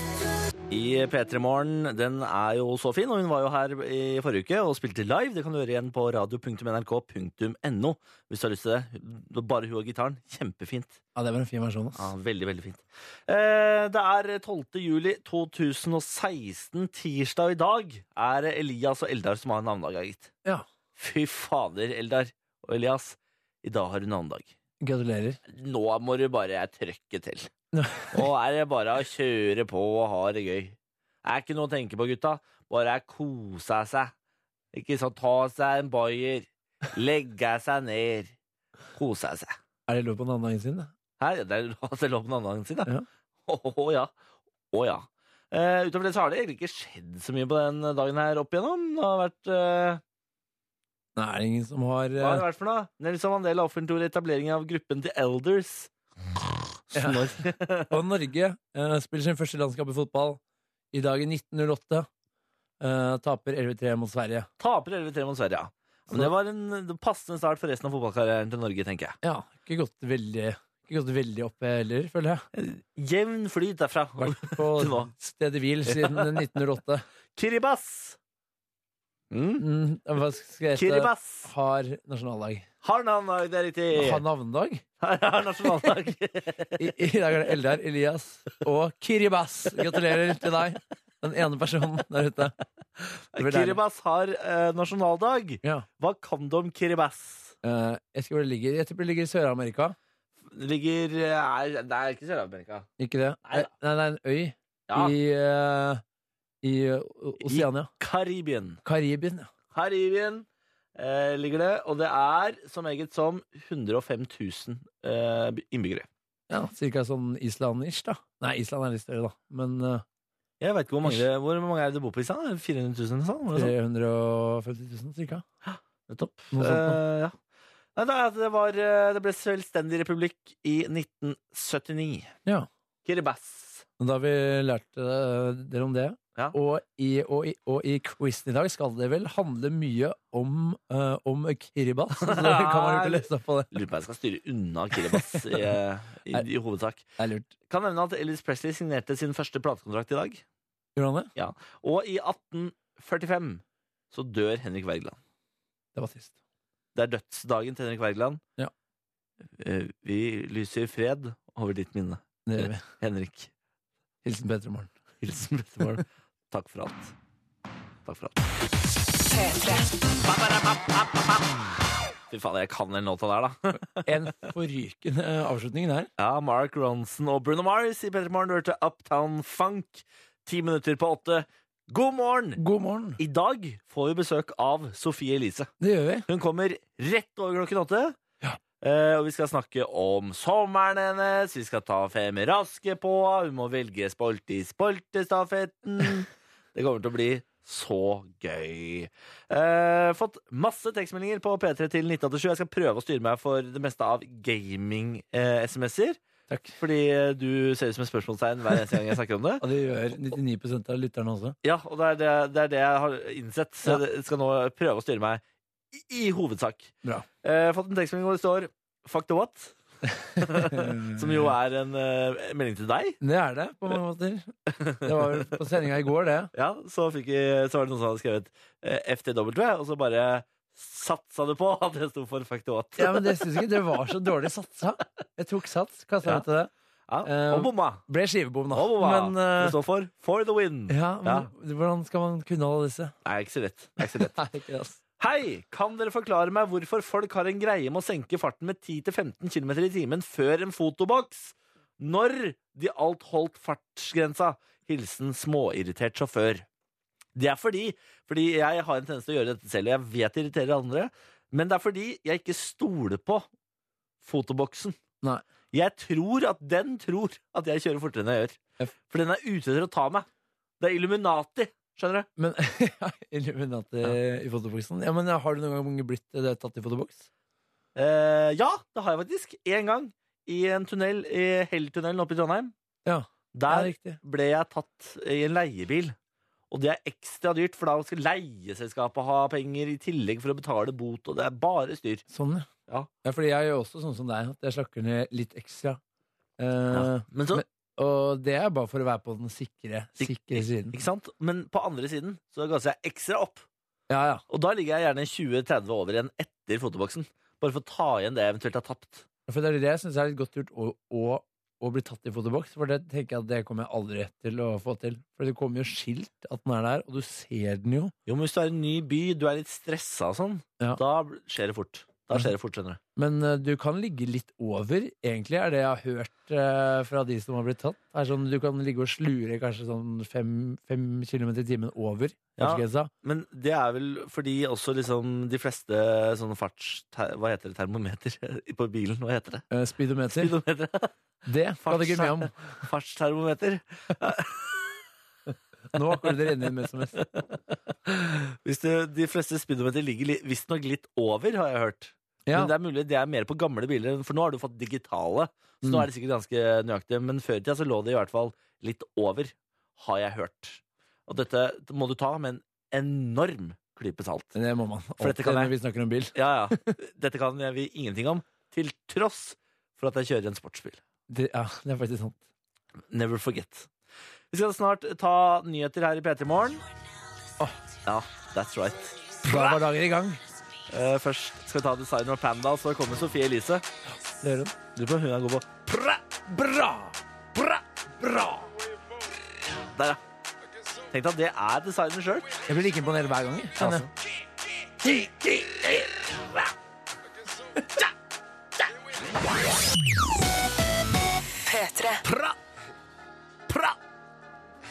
[SPEAKER 2] i P3 Morgen. Den er jo så fin, og hun var jo her i forrige uke og spilte live. Det kan du gjøre igjen på radio.nrk.no hvis du har lyst til det. Bare hun og gitaren. Kjempefint.
[SPEAKER 4] Ja, det var en fin versjon, ass.
[SPEAKER 2] Ja, veldig, veldig fint. Eh, det er 12. juli 2016, tirsdag i dag, er det Elias og Eldar som har navnedag, ja, gitt.
[SPEAKER 4] Ja.
[SPEAKER 2] Fy fader, Eldar og Elias. I dag har du navnedag.
[SPEAKER 4] Gratulerer.
[SPEAKER 2] Nå må du bare trøkke til. Nå er det bare å kjøre på og ha det gøy. Det er ikke noe å tenke på, gutta. Bare kose seg. Ikke sånn ta seg en bayer, legge seg ned, kose seg.
[SPEAKER 4] Er det lov på navnedagen sin? da?
[SPEAKER 2] Her, det er lov- det er lov på navnedagen sin, da.
[SPEAKER 4] Ja.
[SPEAKER 2] Å ja. Å ja. Eh, utover det så har det egentlig ikke skjedd så mye på den dagen her opp igjennom. Det har vært eh,
[SPEAKER 4] Nei, er det ingen som har
[SPEAKER 2] Hva har det
[SPEAKER 4] eh,
[SPEAKER 2] vært for noe? Nelson Mandela offentliggjorde etableringen av gruppen til Elders. Snorr.
[SPEAKER 4] Og Norge eh, spiller sin første landskamp i fotball i dag i 1908. Eh, taper 11-3 mot Sverige.
[SPEAKER 2] Taper 11-3 mot Sverige. ja.
[SPEAKER 4] Altså-
[SPEAKER 2] Men det var en passende start for resten av fotballkarrieren til Norge, tenker jeg.
[SPEAKER 4] Ja, ikke gått veldig, ikke gått veldig opp eh, heller, føler jeg.
[SPEAKER 2] Jevn flyt derfra.
[SPEAKER 4] Vært på
[SPEAKER 2] Til hva?
[SPEAKER 4] stedet hvil siden 1908.
[SPEAKER 2] Kiribas! Mm.
[SPEAKER 4] Mm, hva skal jeg hete?
[SPEAKER 2] Kiribas!
[SPEAKER 4] Har nasjonaldag.
[SPEAKER 2] Har navnedag, det er riktig.
[SPEAKER 4] Har navnedag?
[SPEAKER 2] Har nasjonaldag.
[SPEAKER 4] I, I dag er det Eldar, Elias og Kiribas. Gratulerer til deg, den ene personen der ute. Det blir deilig.
[SPEAKER 2] Kiribas har eh, nasjonaldag.
[SPEAKER 4] Ja.
[SPEAKER 2] Hva kan du om Kiribas?
[SPEAKER 4] Eh, jeg husker hvor det ligger. Jeg tipper det ligger i Sør-Amerika.
[SPEAKER 2] Det ligger eh, er, Det er ikke Sør-Amerika.
[SPEAKER 4] Ikke det?
[SPEAKER 2] Nei da.
[SPEAKER 4] Nei, det er en øy
[SPEAKER 2] Ja.
[SPEAKER 4] i, eh, i eh, O- Oseania.
[SPEAKER 2] Karibien.
[SPEAKER 4] Karibien. ja.
[SPEAKER 2] Karibien eh, ligger det, og det er så meget som 105 000 eh, innbyggere.
[SPEAKER 4] Ja, cirka sånn Island-ish, da. Nei, Island er litt større, da. Men eh,
[SPEAKER 2] Jeg vet ikke hvor mange, det- hvor mange er det bor på Island? 400 000? Sånn, var det sånn?
[SPEAKER 4] 350 000, cirka.
[SPEAKER 2] Nettopp.
[SPEAKER 4] Noe sånt noe.
[SPEAKER 2] Eh, ja. Nei, det, er- det, var, eh, det ble selvstendig republikk i 1979.
[SPEAKER 4] Ja.
[SPEAKER 2] Kiribas.
[SPEAKER 4] Men Da har vi lært eh, dere om det.
[SPEAKER 2] Ja.
[SPEAKER 4] Og, i, og, i, og i quizen i dag skal det vel handle mye om, eh, om Kiribas. Så det kan man lurt å lese opp på det.
[SPEAKER 2] Lurer på om jeg skal styre unna Kiribas i, eh, i, i, hovedsak.
[SPEAKER 4] Det er lurt.
[SPEAKER 2] Kan nevne at Elvis Presley signerte sin første platekontrakt i dag.
[SPEAKER 4] Gjorde han det?
[SPEAKER 2] Og i 1845 så dør Henrik Wergeland.
[SPEAKER 4] Det var trist.
[SPEAKER 2] Det er dødsdagen til Henrik Wergeland.
[SPEAKER 4] Ja.
[SPEAKER 2] Eh, Vi lyser fred over ditt minne,
[SPEAKER 4] Det gjør vi.
[SPEAKER 2] Henrik.
[SPEAKER 4] Hilsen Petter Morgen.
[SPEAKER 2] Hilsen Brettevold. Takk for alt. Takk for alt. Fy faen, jeg kan den låta der, da.
[SPEAKER 4] En forrykende eh, avslutning der.
[SPEAKER 2] Ja, Mark Ronson og Bruno Mars i Petter Morgen hørte Uptown Funk. Ti minutter på åtte. God morgen!
[SPEAKER 4] God morgen.
[SPEAKER 2] I dag får vi besøk av Sofie Elise.
[SPEAKER 4] Det gjør vi.
[SPEAKER 2] Hun kommer rett over klokken åtte.
[SPEAKER 4] Ja.
[SPEAKER 2] Eh, og vi skal snakke om sommeren hennes, vi skal ta fem raske på, hun må velge spolte i spoltestafetten. Det kommer til å bli så gøy. Eh, fått masse tekstmeldinger på P3 til 1987. Jeg skal prøve å styre meg for det meste av eh, gaming-SMS-er.
[SPEAKER 4] Takk.
[SPEAKER 2] fordi eh, du ser ut som et spørsmålstegn hver eneste gang jeg snakker om det.
[SPEAKER 4] Og det gjør 99 av lytterne også.
[SPEAKER 2] Ja, og det er det, det, er det jeg har innsett. Så
[SPEAKER 4] Ja.
[SPEAKER 2] jeg skal nå prøve å styre meg i, i hovedsak.
[SPEAKER 4] Bra.
[SPEAKER 2] Eh, fått en tekstmelding hvor det står 'fuck the what'. Som jo er en eh, melding til deg.
[SPEAKER 4] Det er det, på mange måter. Det var vel på sendinga i går, det.
[SPEAKER 2] Ja, så, fikk vi, så var det noen som hadde skrevet eh, FTW, og så bare satsa du på at det sto for 'fuck the what'.
[SPEAKER 4] Ja, men det synes jeg ikke. Det var så dårlig satsa. Jeg tok sats, kasta
[SPEAKER 2] Ja.
[SPEAKER 4] meg til det.
[SPEAKER 2] Ja,
[SPEAKER 4] eh,
[SPEAKER 2] og bomma.
[SPEAKER 4] Ble skivebom, da.
[SPEAKER 2] Og bomma.
[SPEAKER 4] Men, eh,
[SPEAKER 2] det står for 'for the win'.
[SPEAKER 4] ja, men
[SPEAKER 2] Ja.
[SPEAKER 4] hvordan skal man kunne alle disse?
[SPEAKER 2] Nei, ikke så lett. Det er ikke så lett.
[SPEAKER 4] Nei, ikke det, altså.
[SPEAKER 2] Hei! Kan dere forklare meg hvorfor folk har en greie med å senke farten med 10-15 km i timen før en fotoboks? Når de alt holdt fartsgrensa? Hilsen småirritert sjåfør. Det er fordi, fordi jeg har en tendens til å gjøre dette selv, og jeg vet det irriterer andre, men det er fordi jeg ikke stoler på fotoboksen.
[SPEAKER 4] Nei.
[SPEAKER 2] Jeg tror at den tror at jeg kjører fortere enn jeg gjør.
[SPEAKER 4] Jeg f-
[SPEAKER 2] For den er ute etter å ta meg. Det er Illuminati, skjønner du?
[SPEAKER 4] Men ja, Illuminati eh, i fotoboksen. Ja, men Har du noen gang blitt eh, tatt i fotoboks?
[SPEAKER 2] Eh, ja, det har jeg faktisk. Én gang. I en tunnel, i Helltunnelen oppe i Trondheim.
[SPEAKER 4] Ja, Ja,
[SPEAKER 2] Der
[SPEAKER 4] riktig.
[SPEAKER 2] ble jeg tatt i en leiebil. Og det er ekstra dyrt, for da skal leieselskapet ha penger i tillegg for å betale bot, og det er bare styr.
[SPEAKER 4] Sånn, ja.
[SPEAKER 2] Ja.
[SPEAKER 4] ja. Fordi jeg gjør også sånn som deg, at jeg slakker ned litt ekstra. Eh,
[SPEAKER 2] Men, så,
[SPEAKER 4] Men- Og det er bare for å være på den sikre,
[SPEAKER 2] Sik-
[SPEAKER 4] sikre siden.
[SPEAKER 2] ikke sant? Men på andre siden så gasser jeg ekstra opp.
[SPEAKER 4] Ja, ja.
[SPEAKER 2] Og da ligger jeg gjerne 20-30 over igjen etter fotoboksen. Bare for å ta igjen det jeg eventuelt har tapt.
[SPEAKER 4] For det er det jeg syns er litt godt gjort å, å, å bli tatt i fotoboks. For det tenker jeg at det kommer jeg aldri til å få til. For det kommer jo skilt at den er der, og du ser den jo.
[SPEAKER 2] Jo, men hvis du er i en ny by, du er litt stressa og sånn,
[SPEAKER 4] Ja.
[SPEAKER 2] da skjer det fort. Da skjer det fort, skjønner du.
[SPEAKER 4] Men eh, du kan ligge litt over, egentlig, er det jeg har hørt eh, fra de som har blitt tatt. Er sånn, du kan ligge og slure kanskje sånn fem, fem kilometer i timen over
[SPEAKER 2] Ja.
[SPEAKER 4] fartsgrensa.
[SPEAKER 2] Men det er vel fordi også liksom de fleste sånne farts... Ter, hva heter det? Termometer på bilen? Hva heter det?
[SPEAKER 4] Eh, speedometer.
[SPEAKER 2] Speedometer.
[SPEAKER 4] Det kan du ikke mye om.
[SPEAKER 2] Fartstermometer.
[SPEAKER 4] Nå kommer det renne inn med SMS.
[SPEAKER 2] Hvis du- De fleste speedometer ligger visstnok litt over, har jeg hørt.
[SPEAKER 4] Ja.
[SPEAKER 2] Men det er mulig det er mer på gamle biler, for nå har du fått digitale. Så nå
[SPEAKER 4] Mm.
[SPEAKER 2] er det sikkert ganske nøyaktig. Men før i tida så lå det i hvert fall litt over, har jeg hørt. Og dette må du ta med en enorm klype salt.
[SPEAKER 4] Det må man.
[SPEAKER 2] For dette kan jeg.
[SPEAKER 4] Alltid Når vi snakker om bil.
[SPEAKER 2] Ja, ja. Dette kan jeg vi ingenting om, til tross for at jeg kjører en sportsbil.
[SPEAKER 4] Det, ja, det er faktisk sant.
[SPEAKER 2] Never forget. Vi skal snart ta nyheter her i P3 Morgen. Ja, that's right.
[SPEAKER 4] Da var dagen i gang.
[SPEAKER 2] Eh, først skal vi ta Designer og Panda, så kommer Sofie Elise.
[SPEAKER 4] Det gjør hun.
[SPEAKER 2] Lurer på om hun er god på pra, bra, pra, bra. Der, ja. Tenk deg at det er designer sjøl.
[SPEAKER 4] Jeg blir like imponert hver gang. jeg. Altså.
[SPEAKER 5] P3.
[SPEAKER 2] Pra, pra,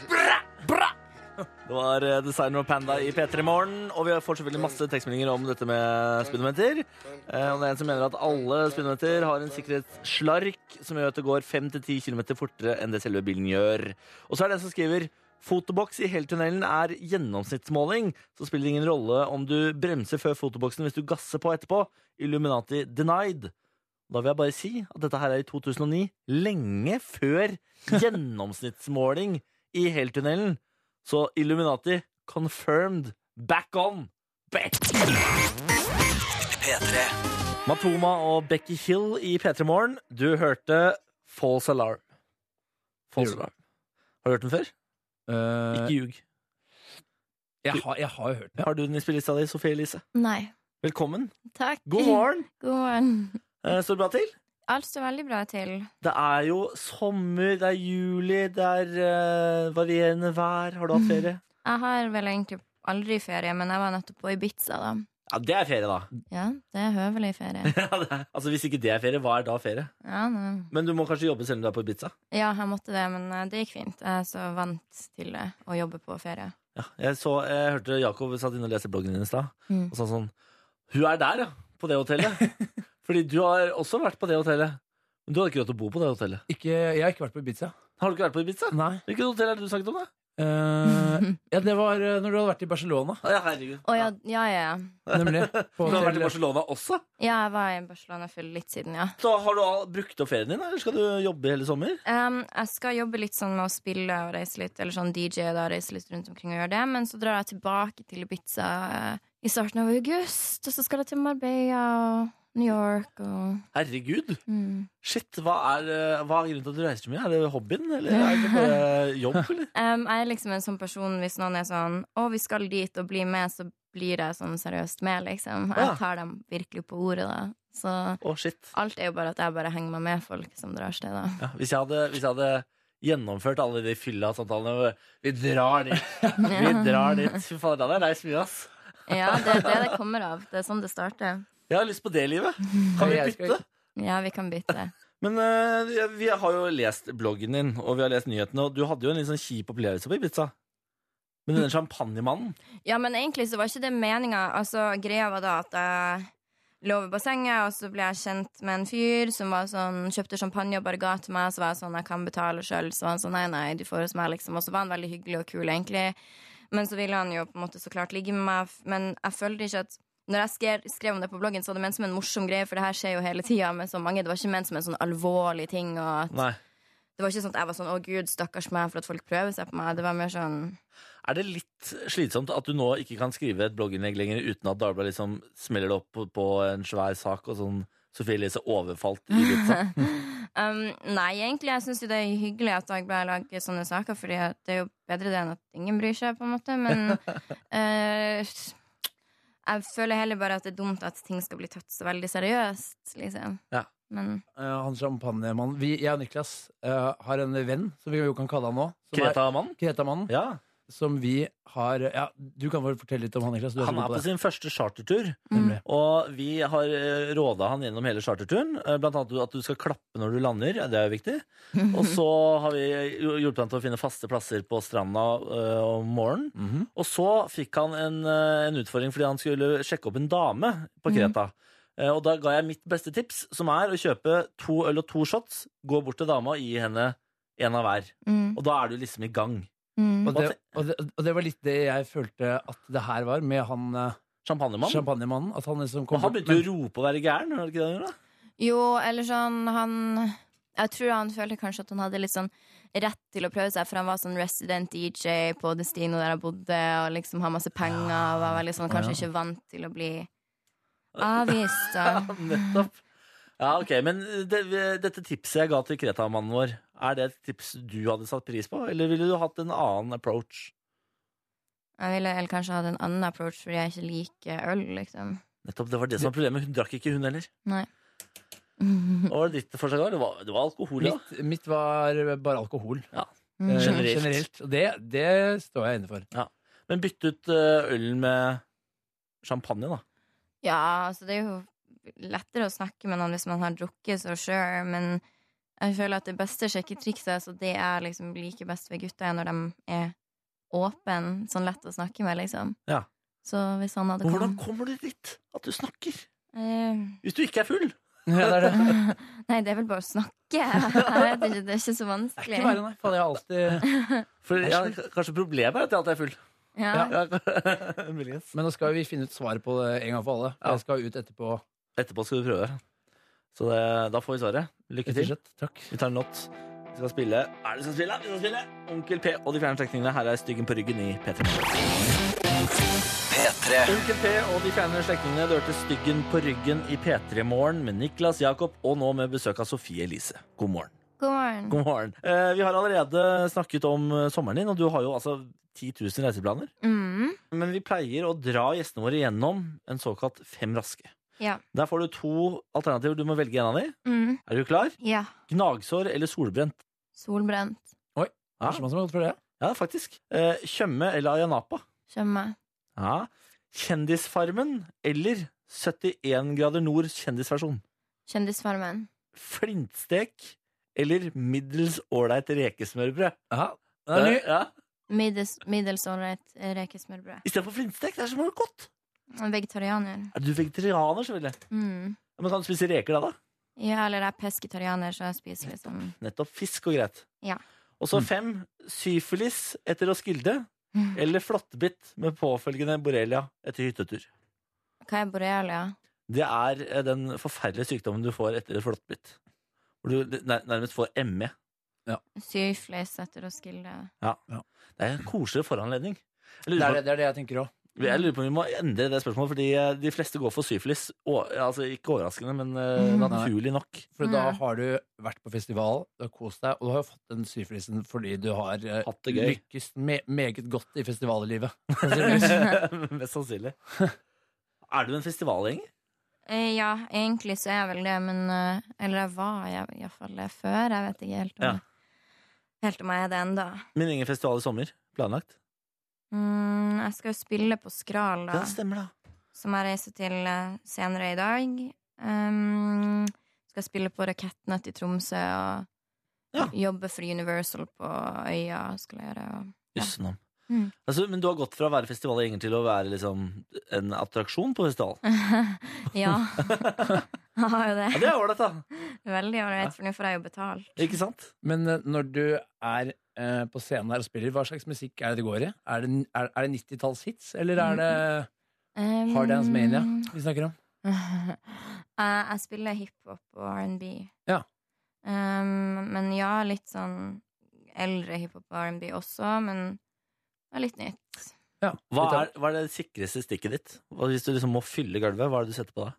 [SPEAKER 2] bra, bra. Det var eh, Designer og Panda i P3 Morgen, og vi får selvfølgelig masse tekstmeldinger om dette med speedometer. Eh, Og det er en som mener at alle speedometer har en sikkerhetsslark som gjør at det går 5-10 km fortere enn det selve bilen gjør. Og så er det en som skriver Fotoboks i heltunnelen er gjennomsnittsmåling, så spiller det ingen rolle om du bremser før fotoboksen hvis du gasser på etterpå. Illuminati denied. Da vil jeg bare si at dette her er i 2009, lenge før gjennomsnittsmåling i heltunnelen. Så Illuminati confirmed back on. Back.
[SPEAKER 1] P3.
[SPEAKER 2] Matoma og Becky Hill i P3 Morgen. Du hørte False Alarm. False
[SPEAKER 4] Gjorde.
[SPEAKER 2] Alarm. Har du hørt den før?
[SPEAKER 4] Eh,
[SPEAKER 2] Ikke ljug.
[SPEAKER 4] jeg, har, jeg har jo hørt
[SPEAKER 2] altså.
[SPEAKER 4] den.
[SPEAKER 2] Eh, Har du den i spillelista di, Sofie Elise?
[SPEAKER 6] Nei.
[SPEAKER 2] Velkommen.
[SPEAKER 6] Takk.
[SPEAKER 2] God morgen.
[SPEAKER 6] God morgen.
[SPEAKER 2] Eh, Står det bra til?
[SPEAKER 6] Alt står veldig bra til.
[SPEAKER 2] Det er jo sommer, det er juli, det er eh, varierende vær. Har du hatt ferie?
[SPEAKER 6] Jeg har vel egentlig aldri ferie, men jeg var nettopp på Ibiza, da.
[SPEAKER 2] Ja, det er ferie, da.
[SPEAKER 6] Ja, det er høvelig ferie.
[SPEAKER 2] Ja, det er. Altså, Hvis ikke det er ferie, hva er da ferie?
[SPEAKER 6] Ja, nei.
[SPEAKER 2] Men du må kanskje jobbe selv om du er på Ibiza?
[SPEAKER 6] ja jeg måtte det, men eh, det gikk fint. Jeg er så vant til det, å jobbe på ferie.
[SPEAKER 2] Ja, jeg, så, jeg hørte Jakob satt inne og leste bloggen din i stad,
[SPEAKER 6] Mm.
[SPEAKER 2] og sa sånn Hun er der, ja. På det hotellet. Fordi du har også vært på det hotellet. Men du har ikke råd til å bo på det hotellet.
[SPEAKER 4] Ikke, jeg har ikke vært på Ibiza.
[SPEAKER 2] Har du ikke vært på Ibiza?
[SPEAKER 4] Nei.
[SPEAKER 2] Hvilket hotell er det du snakket om, da?
[SPEAKER 4] Eh, ja, det var eh, når du hadde vært i Barcelona,
[SPEAKER 2] Å, Ja, herregud.
[SPEAKER 6] Å ja, ja, ja. ja.
[SPEAKER 4] nemlig. På
[SPEAKER 2] Du har vært i
[SPEAKER 4] hotell-
[SPEAKER 2] Barcelona også?
[SPEAKER 6] Ja, jeg var i Barcelona for litt siden, ja.
[SPEAKER 2] Så har du all- brukt opp ferien din, eller skal du jobbe hele sommer?
[SPEAKER 6] Em, jeg skal jobbe litt sånn med å spille og reise litt, eller sånn DJ da, reise litt rundt omkring og gjøre det, men så drar jeg tilbake til Ibiza eh, i starten av august, og så skal jeg til Marbella og New York og
[SPEAKER 2] Herregud!
[SPEAKER 6] mm.
[SPEAKER 2] Shit, hva er, eh, hva er grunnen til at du reiser så mye? Er det hobbyen, eller er det bare jobb? Eller?
[SPEAKER 6] Em, Jeg er liksom en sånn person hvis noen er sånn Å, vi skal dit og bli med, så blir jeg sånn seriøst med, liksom.
[SPEAKER 2] Ja.
[SPEAKER 6] Jeg tar dem virkelig på ordet, da. Så
[SPEAKER 2] Å, shit.
[SPEAKER 6] alt er jo bare at jeg bare henger meg med folk som drar sted, da.
[SPEAKER 2] Ja, hvis, jeg hadde, hvis jeg hadde gjennomført alle de fylla samtalene hvor Vi drar dit! Vi drar dit! Fy fader, da hadde jeg reist mye, ass.
[SPEAKER 6] Ja, det er det det kommer av. Det er sånn det starter.
[SPEAKER 2] Jeg har lyst på det livet. Kan vi
[SPEAKER 4] Jeg skal-
[SPEAKER 2] bytte?
[SPEAKER 6] Ja, vi kan bytte.
[SPEAKER 2] Men eh, vi har jo lest bloggen din, og vi har lest nyhetene, og du hadde jo en litt sånn kjip opplevelse på Ibiza. Men den champagnemannen
[SPEAKER 6] Ja, men egentlig så var ikke det meninga. Altså, greia var da at jeg lå ved bassenget, og så ble jeg kjent med en fyr som var sånn, kjøpte champagne og bare ga til meg. Så var jeg sånn, jeg kan betale sjøl. Så var han sånn, nei, nei, du får hos meg, liksom. Og så var han veldig hyggelig og kul, egentlig. Men så ville han jo på en måte så klart ligge med meg. f- Men jeg følte ikke at når jeg skrev, skrev om det på bloggen, så var det ment som en morsom greie, for det her skjer jo hele tida med så mange. Det var ikke ment som en sånn alvorlig ting. Og at,
[SPEAKER 2] Nei.
[SPEAKER 6] det var ikke sånn at jeg var sånn 'Å, gud, stakkars meg', for at folk prøver seg på meg. Det var mer sånn
[SPEAKER 2] Er det litt slitsomt at du nå ikke kan skrive et blogginnlegg lenger uten at Dagbladet liksom smeller det opp på, på en svær sak og sånn Sofie Elise overfalt i Ibiza?
[SPEAKER 6] Um, nei, egentlig. Jeg syns jo det er hyggelig at Dagbladet lager sånne saker, Fordi at det er jo bedre det enn at ingen bryr seg, på en måte. Men eh, jeg føler heller bare at det er dumt at ting skal bli tatt så veldig seriøst, liksom.
[SPEAKER 2] Ja.
[SPEAKER 6] Men
[SPEAKER 4] Eh, han champagnemannen Vi- Jeg og Niklas eh, har en venn, som vi jo kan kalle han nå. som er-
[SPEAKER 2] Kreta-mannen?
[SPEAKER 4] Kretamannen.
[SPEAKER 2] Ja.
[SPEAKER 4] Som vi har Ja, du kan vel fortelle litt om han, Niklas. Du er
[SPEAKER 2] Han
[SPEAKER 4] så
[SPEAKER 2] er
[SPEAKER 4] god
[SPEAKER 2] på
[SPEAKER 4] på det.
[SPEAKER 2] sin første chartertur,
[SPEAKER 4] Nemlig.
[SPEAKER 2] og vi har råda han gjennom hele charterturen. eh, Blant annet at du skal klappe når du lander, det er jo viktig. Og så har vi jo- hjulpet han til å finne faste plasser på stranda eh, om morgenen.
[SPEAKER 4] Mhm.
[SPEAKER 2] Og så fikk han en, eh, en utfordring fordi han skulle sjekke opp en dame på Kreta. Eh, Og da ga jeg mitt beste tips, som er å kjøpe to øl og to shots, gå bort til dama og gi henne en av hver.
[SPEAKER 6] Mm.
[SPEAKER 2] Og da er du liksom i gang.
[SPEAKER 6] Mm.
[SPEAKER 4] Og det, og, det, og det var litt det jeg følte at det her var, med han eh,
[SPEAKER 2] Champagnemannen.
[SPEAKER 4] champagnemannen. At han liksom
[SPEAKER 2] Og
[SPEAKER 4] kom
[SPEAKER 2] han
[SPEAKER 4] bort-
[SPEAKER 2] begynte jo å rope og være gæren. Var det ikke det han gjorde? da?
[SPEAKER 6] Jo, eller sånn han Jeg tror han følte kanskje at han hadde litt sånn rett til å prøve seg, for han var sånn resident DJ på Destino der han bodde, og liksom har masse penger og var veldig sånn kanskje ikke vant til å bli avvist. Da.
[SPEAKER 2] Ja, nettopp. Ja, ok, Men eh, det, dette tipset jeg ga til Kreta-mannen vår, er det et tips du hadde satt pris på? Eller ville du hatt en annen approach?
[SPEAKER 6] Jeg ville eller kanskje hatt en annen approach fordi jeg ikke liker øl, liksom.
[SPEAKER 2] Nettopp, Det var det som var problemet. Hun drakk ikke, hun heller.
[SPEAKER 6] Nei.
[SPEAKER 2] Hva var det ditt forslag? var? Det var, det var alkohol, ja.
[SPEAKER 4] Mitt, mitt var bare alkohol. Eh,
[SPEAKER 6] Mm.
[SPEAKER 2] Generelt.
[SPEAKER 4] Og det, det står jeg inne for.
[SPEAKER 2] Men bytte ut eh, ølen med champagne, da.
[SPEAKER 6] Ja, altså det er jo lettere å snakke med noen hvis man har drukket, så sure, men jeg føler at det beste sjekketrikset, så det er liksom like best ved gutta er når de er åpen, sånn lett å snakke med, liksom.
[SPEAKER 2] Ja.
[SPEAKER 6] Så hvis han hadde
[SPEAKER 2] Men hvordan
[SPEAKER 6] kommet
[SPEAKER 2] kommer du dit at du snakker?
[SPEAKER 6] eh,
[SPEAKER 2] Hvis du ikke er full?
[SPEAKER 4] Ja, det er det.
[SPEAKER 6] Nei, det er vel bare å snakke. Jeg vet ikke, det er ikke så
[SPEAKER 4] Det er
[SPEAKER 6] vanskelig.
[SPEAKER 4] ikke verre, nei. Faen, jeg har alltid...
[SPEAKER 2] For ja, Kanskje problemet er at jeg alltid er full.
[SPEAKER 6] Ja.
[SPEAKER 2] Ja. Muligens.
[SPEAKER 4] Men nå skal vi finne ut svaret på det en gang for alle.
[SPEAKER 2] Ja.
[SPEAKER 4] Jeg skal ut etterpå.
[SPEAKER 2] Etterpå skal vi prøve. Så det, da får vi svaret. Lykke
[SPEAKER 4] rett og
[SPEAKER 2] til.
[SPEAKER 4] slett. Takk.
[SPEAKER 2] Vi tar en låt. Vi skal spille Hva er det vi skal spille? Vi skal spille Onkel P og de fjerne slektningene. Her er Styggen på ryggen i P3.
[SPEAKER 1] P3.
[SPEAKER 2] Onkel P og de fjerne slektningene. Du hørte Styggen på ryggen i P3 Morgen med Niklas Jakob, og nå med besøk av Sofie Elise. God morgen.
[SPEAKER 6] God morgen.
[SPEAKER 2] God morgen. Eh, vi har allerede snakket om eh, sommeren din, og du har jo altså 10 000 reiseplaner.
[SPEAKER 6] Mm.
[SPEAKER 2] Men vi pleier å dra gjestene våre gjennom en såkalt fem raske.
[SPEAKER 6] Ja.
[SPEAKER 2] Der får du to alternativer. Du må velge en av dem.
[SPEAKER 6] Mm.
[SPEAKER 2] Er du klar?
[SPEAKER 6] ja.
[SPEAKER 2] Gnagsår eller solbrent?
[SPEAKER 6] Solbrent.
[SPEAKER 2] Ja,
[SPEAKER 4] Kanskje man som har gått for det?
[SPEAKER 2] ja faktisk. Eh, Tjøme eller Ayanapa?
[SPEAKER 6] Skjønner meg.
[SPEAKER 2] Ja. Kjendisfarmen eller 71 grader nord kjendisversjon?
[SPEAKER 6] Kjendisfarmen.
[SPEAKER 2] Flintstek eller middels ålreit rekesmørbrød? Eh,
[SPEAKER 4] Ja. Det er ny.
[SPEAKER 2] ja.
[SPEAKER 6] Middels, middels ålreit rekesmørbrød.
[SPEAKER 2] Istedenfor flintstek. Det er så mye godt.
[SPEAKER 6] En Vegetarianer.
[SPEAKER 2] Er du vegetarianer, selvfølgelig?
[SPEAKER 6] Mm.
[SPEAKER 2] Ja, Men kan du spise reker da, da?
[SPEAKER 6] Ja, eller jeg er pesketarianer, så jeg spiser liksom
[SPEAKER 2] Nettopp. Fisk og greit.
[SPEAKER 6] Ja.
[SPEAKER 2] Og
[SPEAKER 4] Mm.
[SPEAKER 2] så fem. Syfilis etter Roskilde eller flåttbitt med påfølgende borrelia etter hyttetur?
[SPEAKER 6] Hva er borrelia?
[SPEAKER 2] Det er eh, den forferdelige sykdommen du får etter et flåttbitt. Hvor du nær- nærmest får E. ME.
[SPEAKER 6] Syflis etter Roskilde.
[SPEAKER 2] Det er en koseligere foranledning. Jeg
[SPEAKER 4] Det er
[SPEAKER 2] lurer,
[SPEAKER 4] det, det er det jeg tenker òg.
[SPEAKER 2] på, jeg lurer på om vi må endre det spørsmålet, fordi eh, de fleste går for syfilis. Å- Altså, ikke overraskende, men eh,
[SPEAKER 6] Mhm.
[SPEAKER 2] naturlig nok.
[SPEAKER 4] For da
[SPEAKER 6] Mm.
[SPEAKER 4] har du vært på festival, du har kost deg, og du har jo fått den syfilisen fordi du har eh,
[SPEAKER 2] Hatt det gøy.
[SPEAKER 4] lykkes me meget godt i festivallivet.
[SPEAKER 2] Mest sannsynlig. Er du en festivalgjenger?
[SPEAKER 6] Eh, ja, egentlig så er jeg vel det, men eh, Eller jeg var jeg- i hvert fall det før. Jeg vet ikke helt om,
[SPEAKER 2] Ja.
[SPEAKER 6] helt om jeg er det ennå.
[SPEAKER 2] Min egen festival i sommer. Planlagt?
[SPEAKER 6] Mm, jeg skal jo spille på Skral, da,
[SPEAKER 2] Ja, stemmer da.
[SPEAKER 6] som jeg reiser til eh, senere i dag. Um, skal spille på Rakettnøtt i Tromsø og
[SPEAKER 2] Ja.
[SPEAKER 6] jobbe for Universal på Øya. Skal jeg gjøre og
[SPEAKER 2] Jøssenam.
[SPEAKER 6] Mm.
[SPEAKER 2] Altså, men du har gått fra å være festivalgjenger til å være liksom, en attraksjon på festival.
[SPEAKER 6] Ja. Jeg har jo
[SPEAKER 2] Ja,
[SPEAKER 6] det.
[SPEAKER 2] det er ålreit, da.
[SPEAKER 6] Veldig ålreit, for nå får jeg jo betalt.
[SPEAKER 2] Ikke sant?
[SPEAKER 4] Men eh, når du er eh, på scenen her og spiller, hva slags musikk er det det går i? Er det, er, er det 90-tallshits, eller er det
[SPEAKER 6] Um,
[SPEAKER 4] Hard Dance Mania vi snakker om?
[SPEAKER 6] jeg, Ehm, jeg spiller hiphop og R&B.
[SPEAKER 4] Ja.
[SPEAKER 6] Um, men ja, litt sånn eldre hiphop og R&B også, men ja, litt nytt.
[SPEAKER 4] Ja.
[SPEAKER 2] Hva
[SPEAKER 4] litt av-
[SPEAKER 2] er, hva er det sikreste stikket ditt? Hva- Hvis du liksom må fylle gulvet, hva er det du setter på da?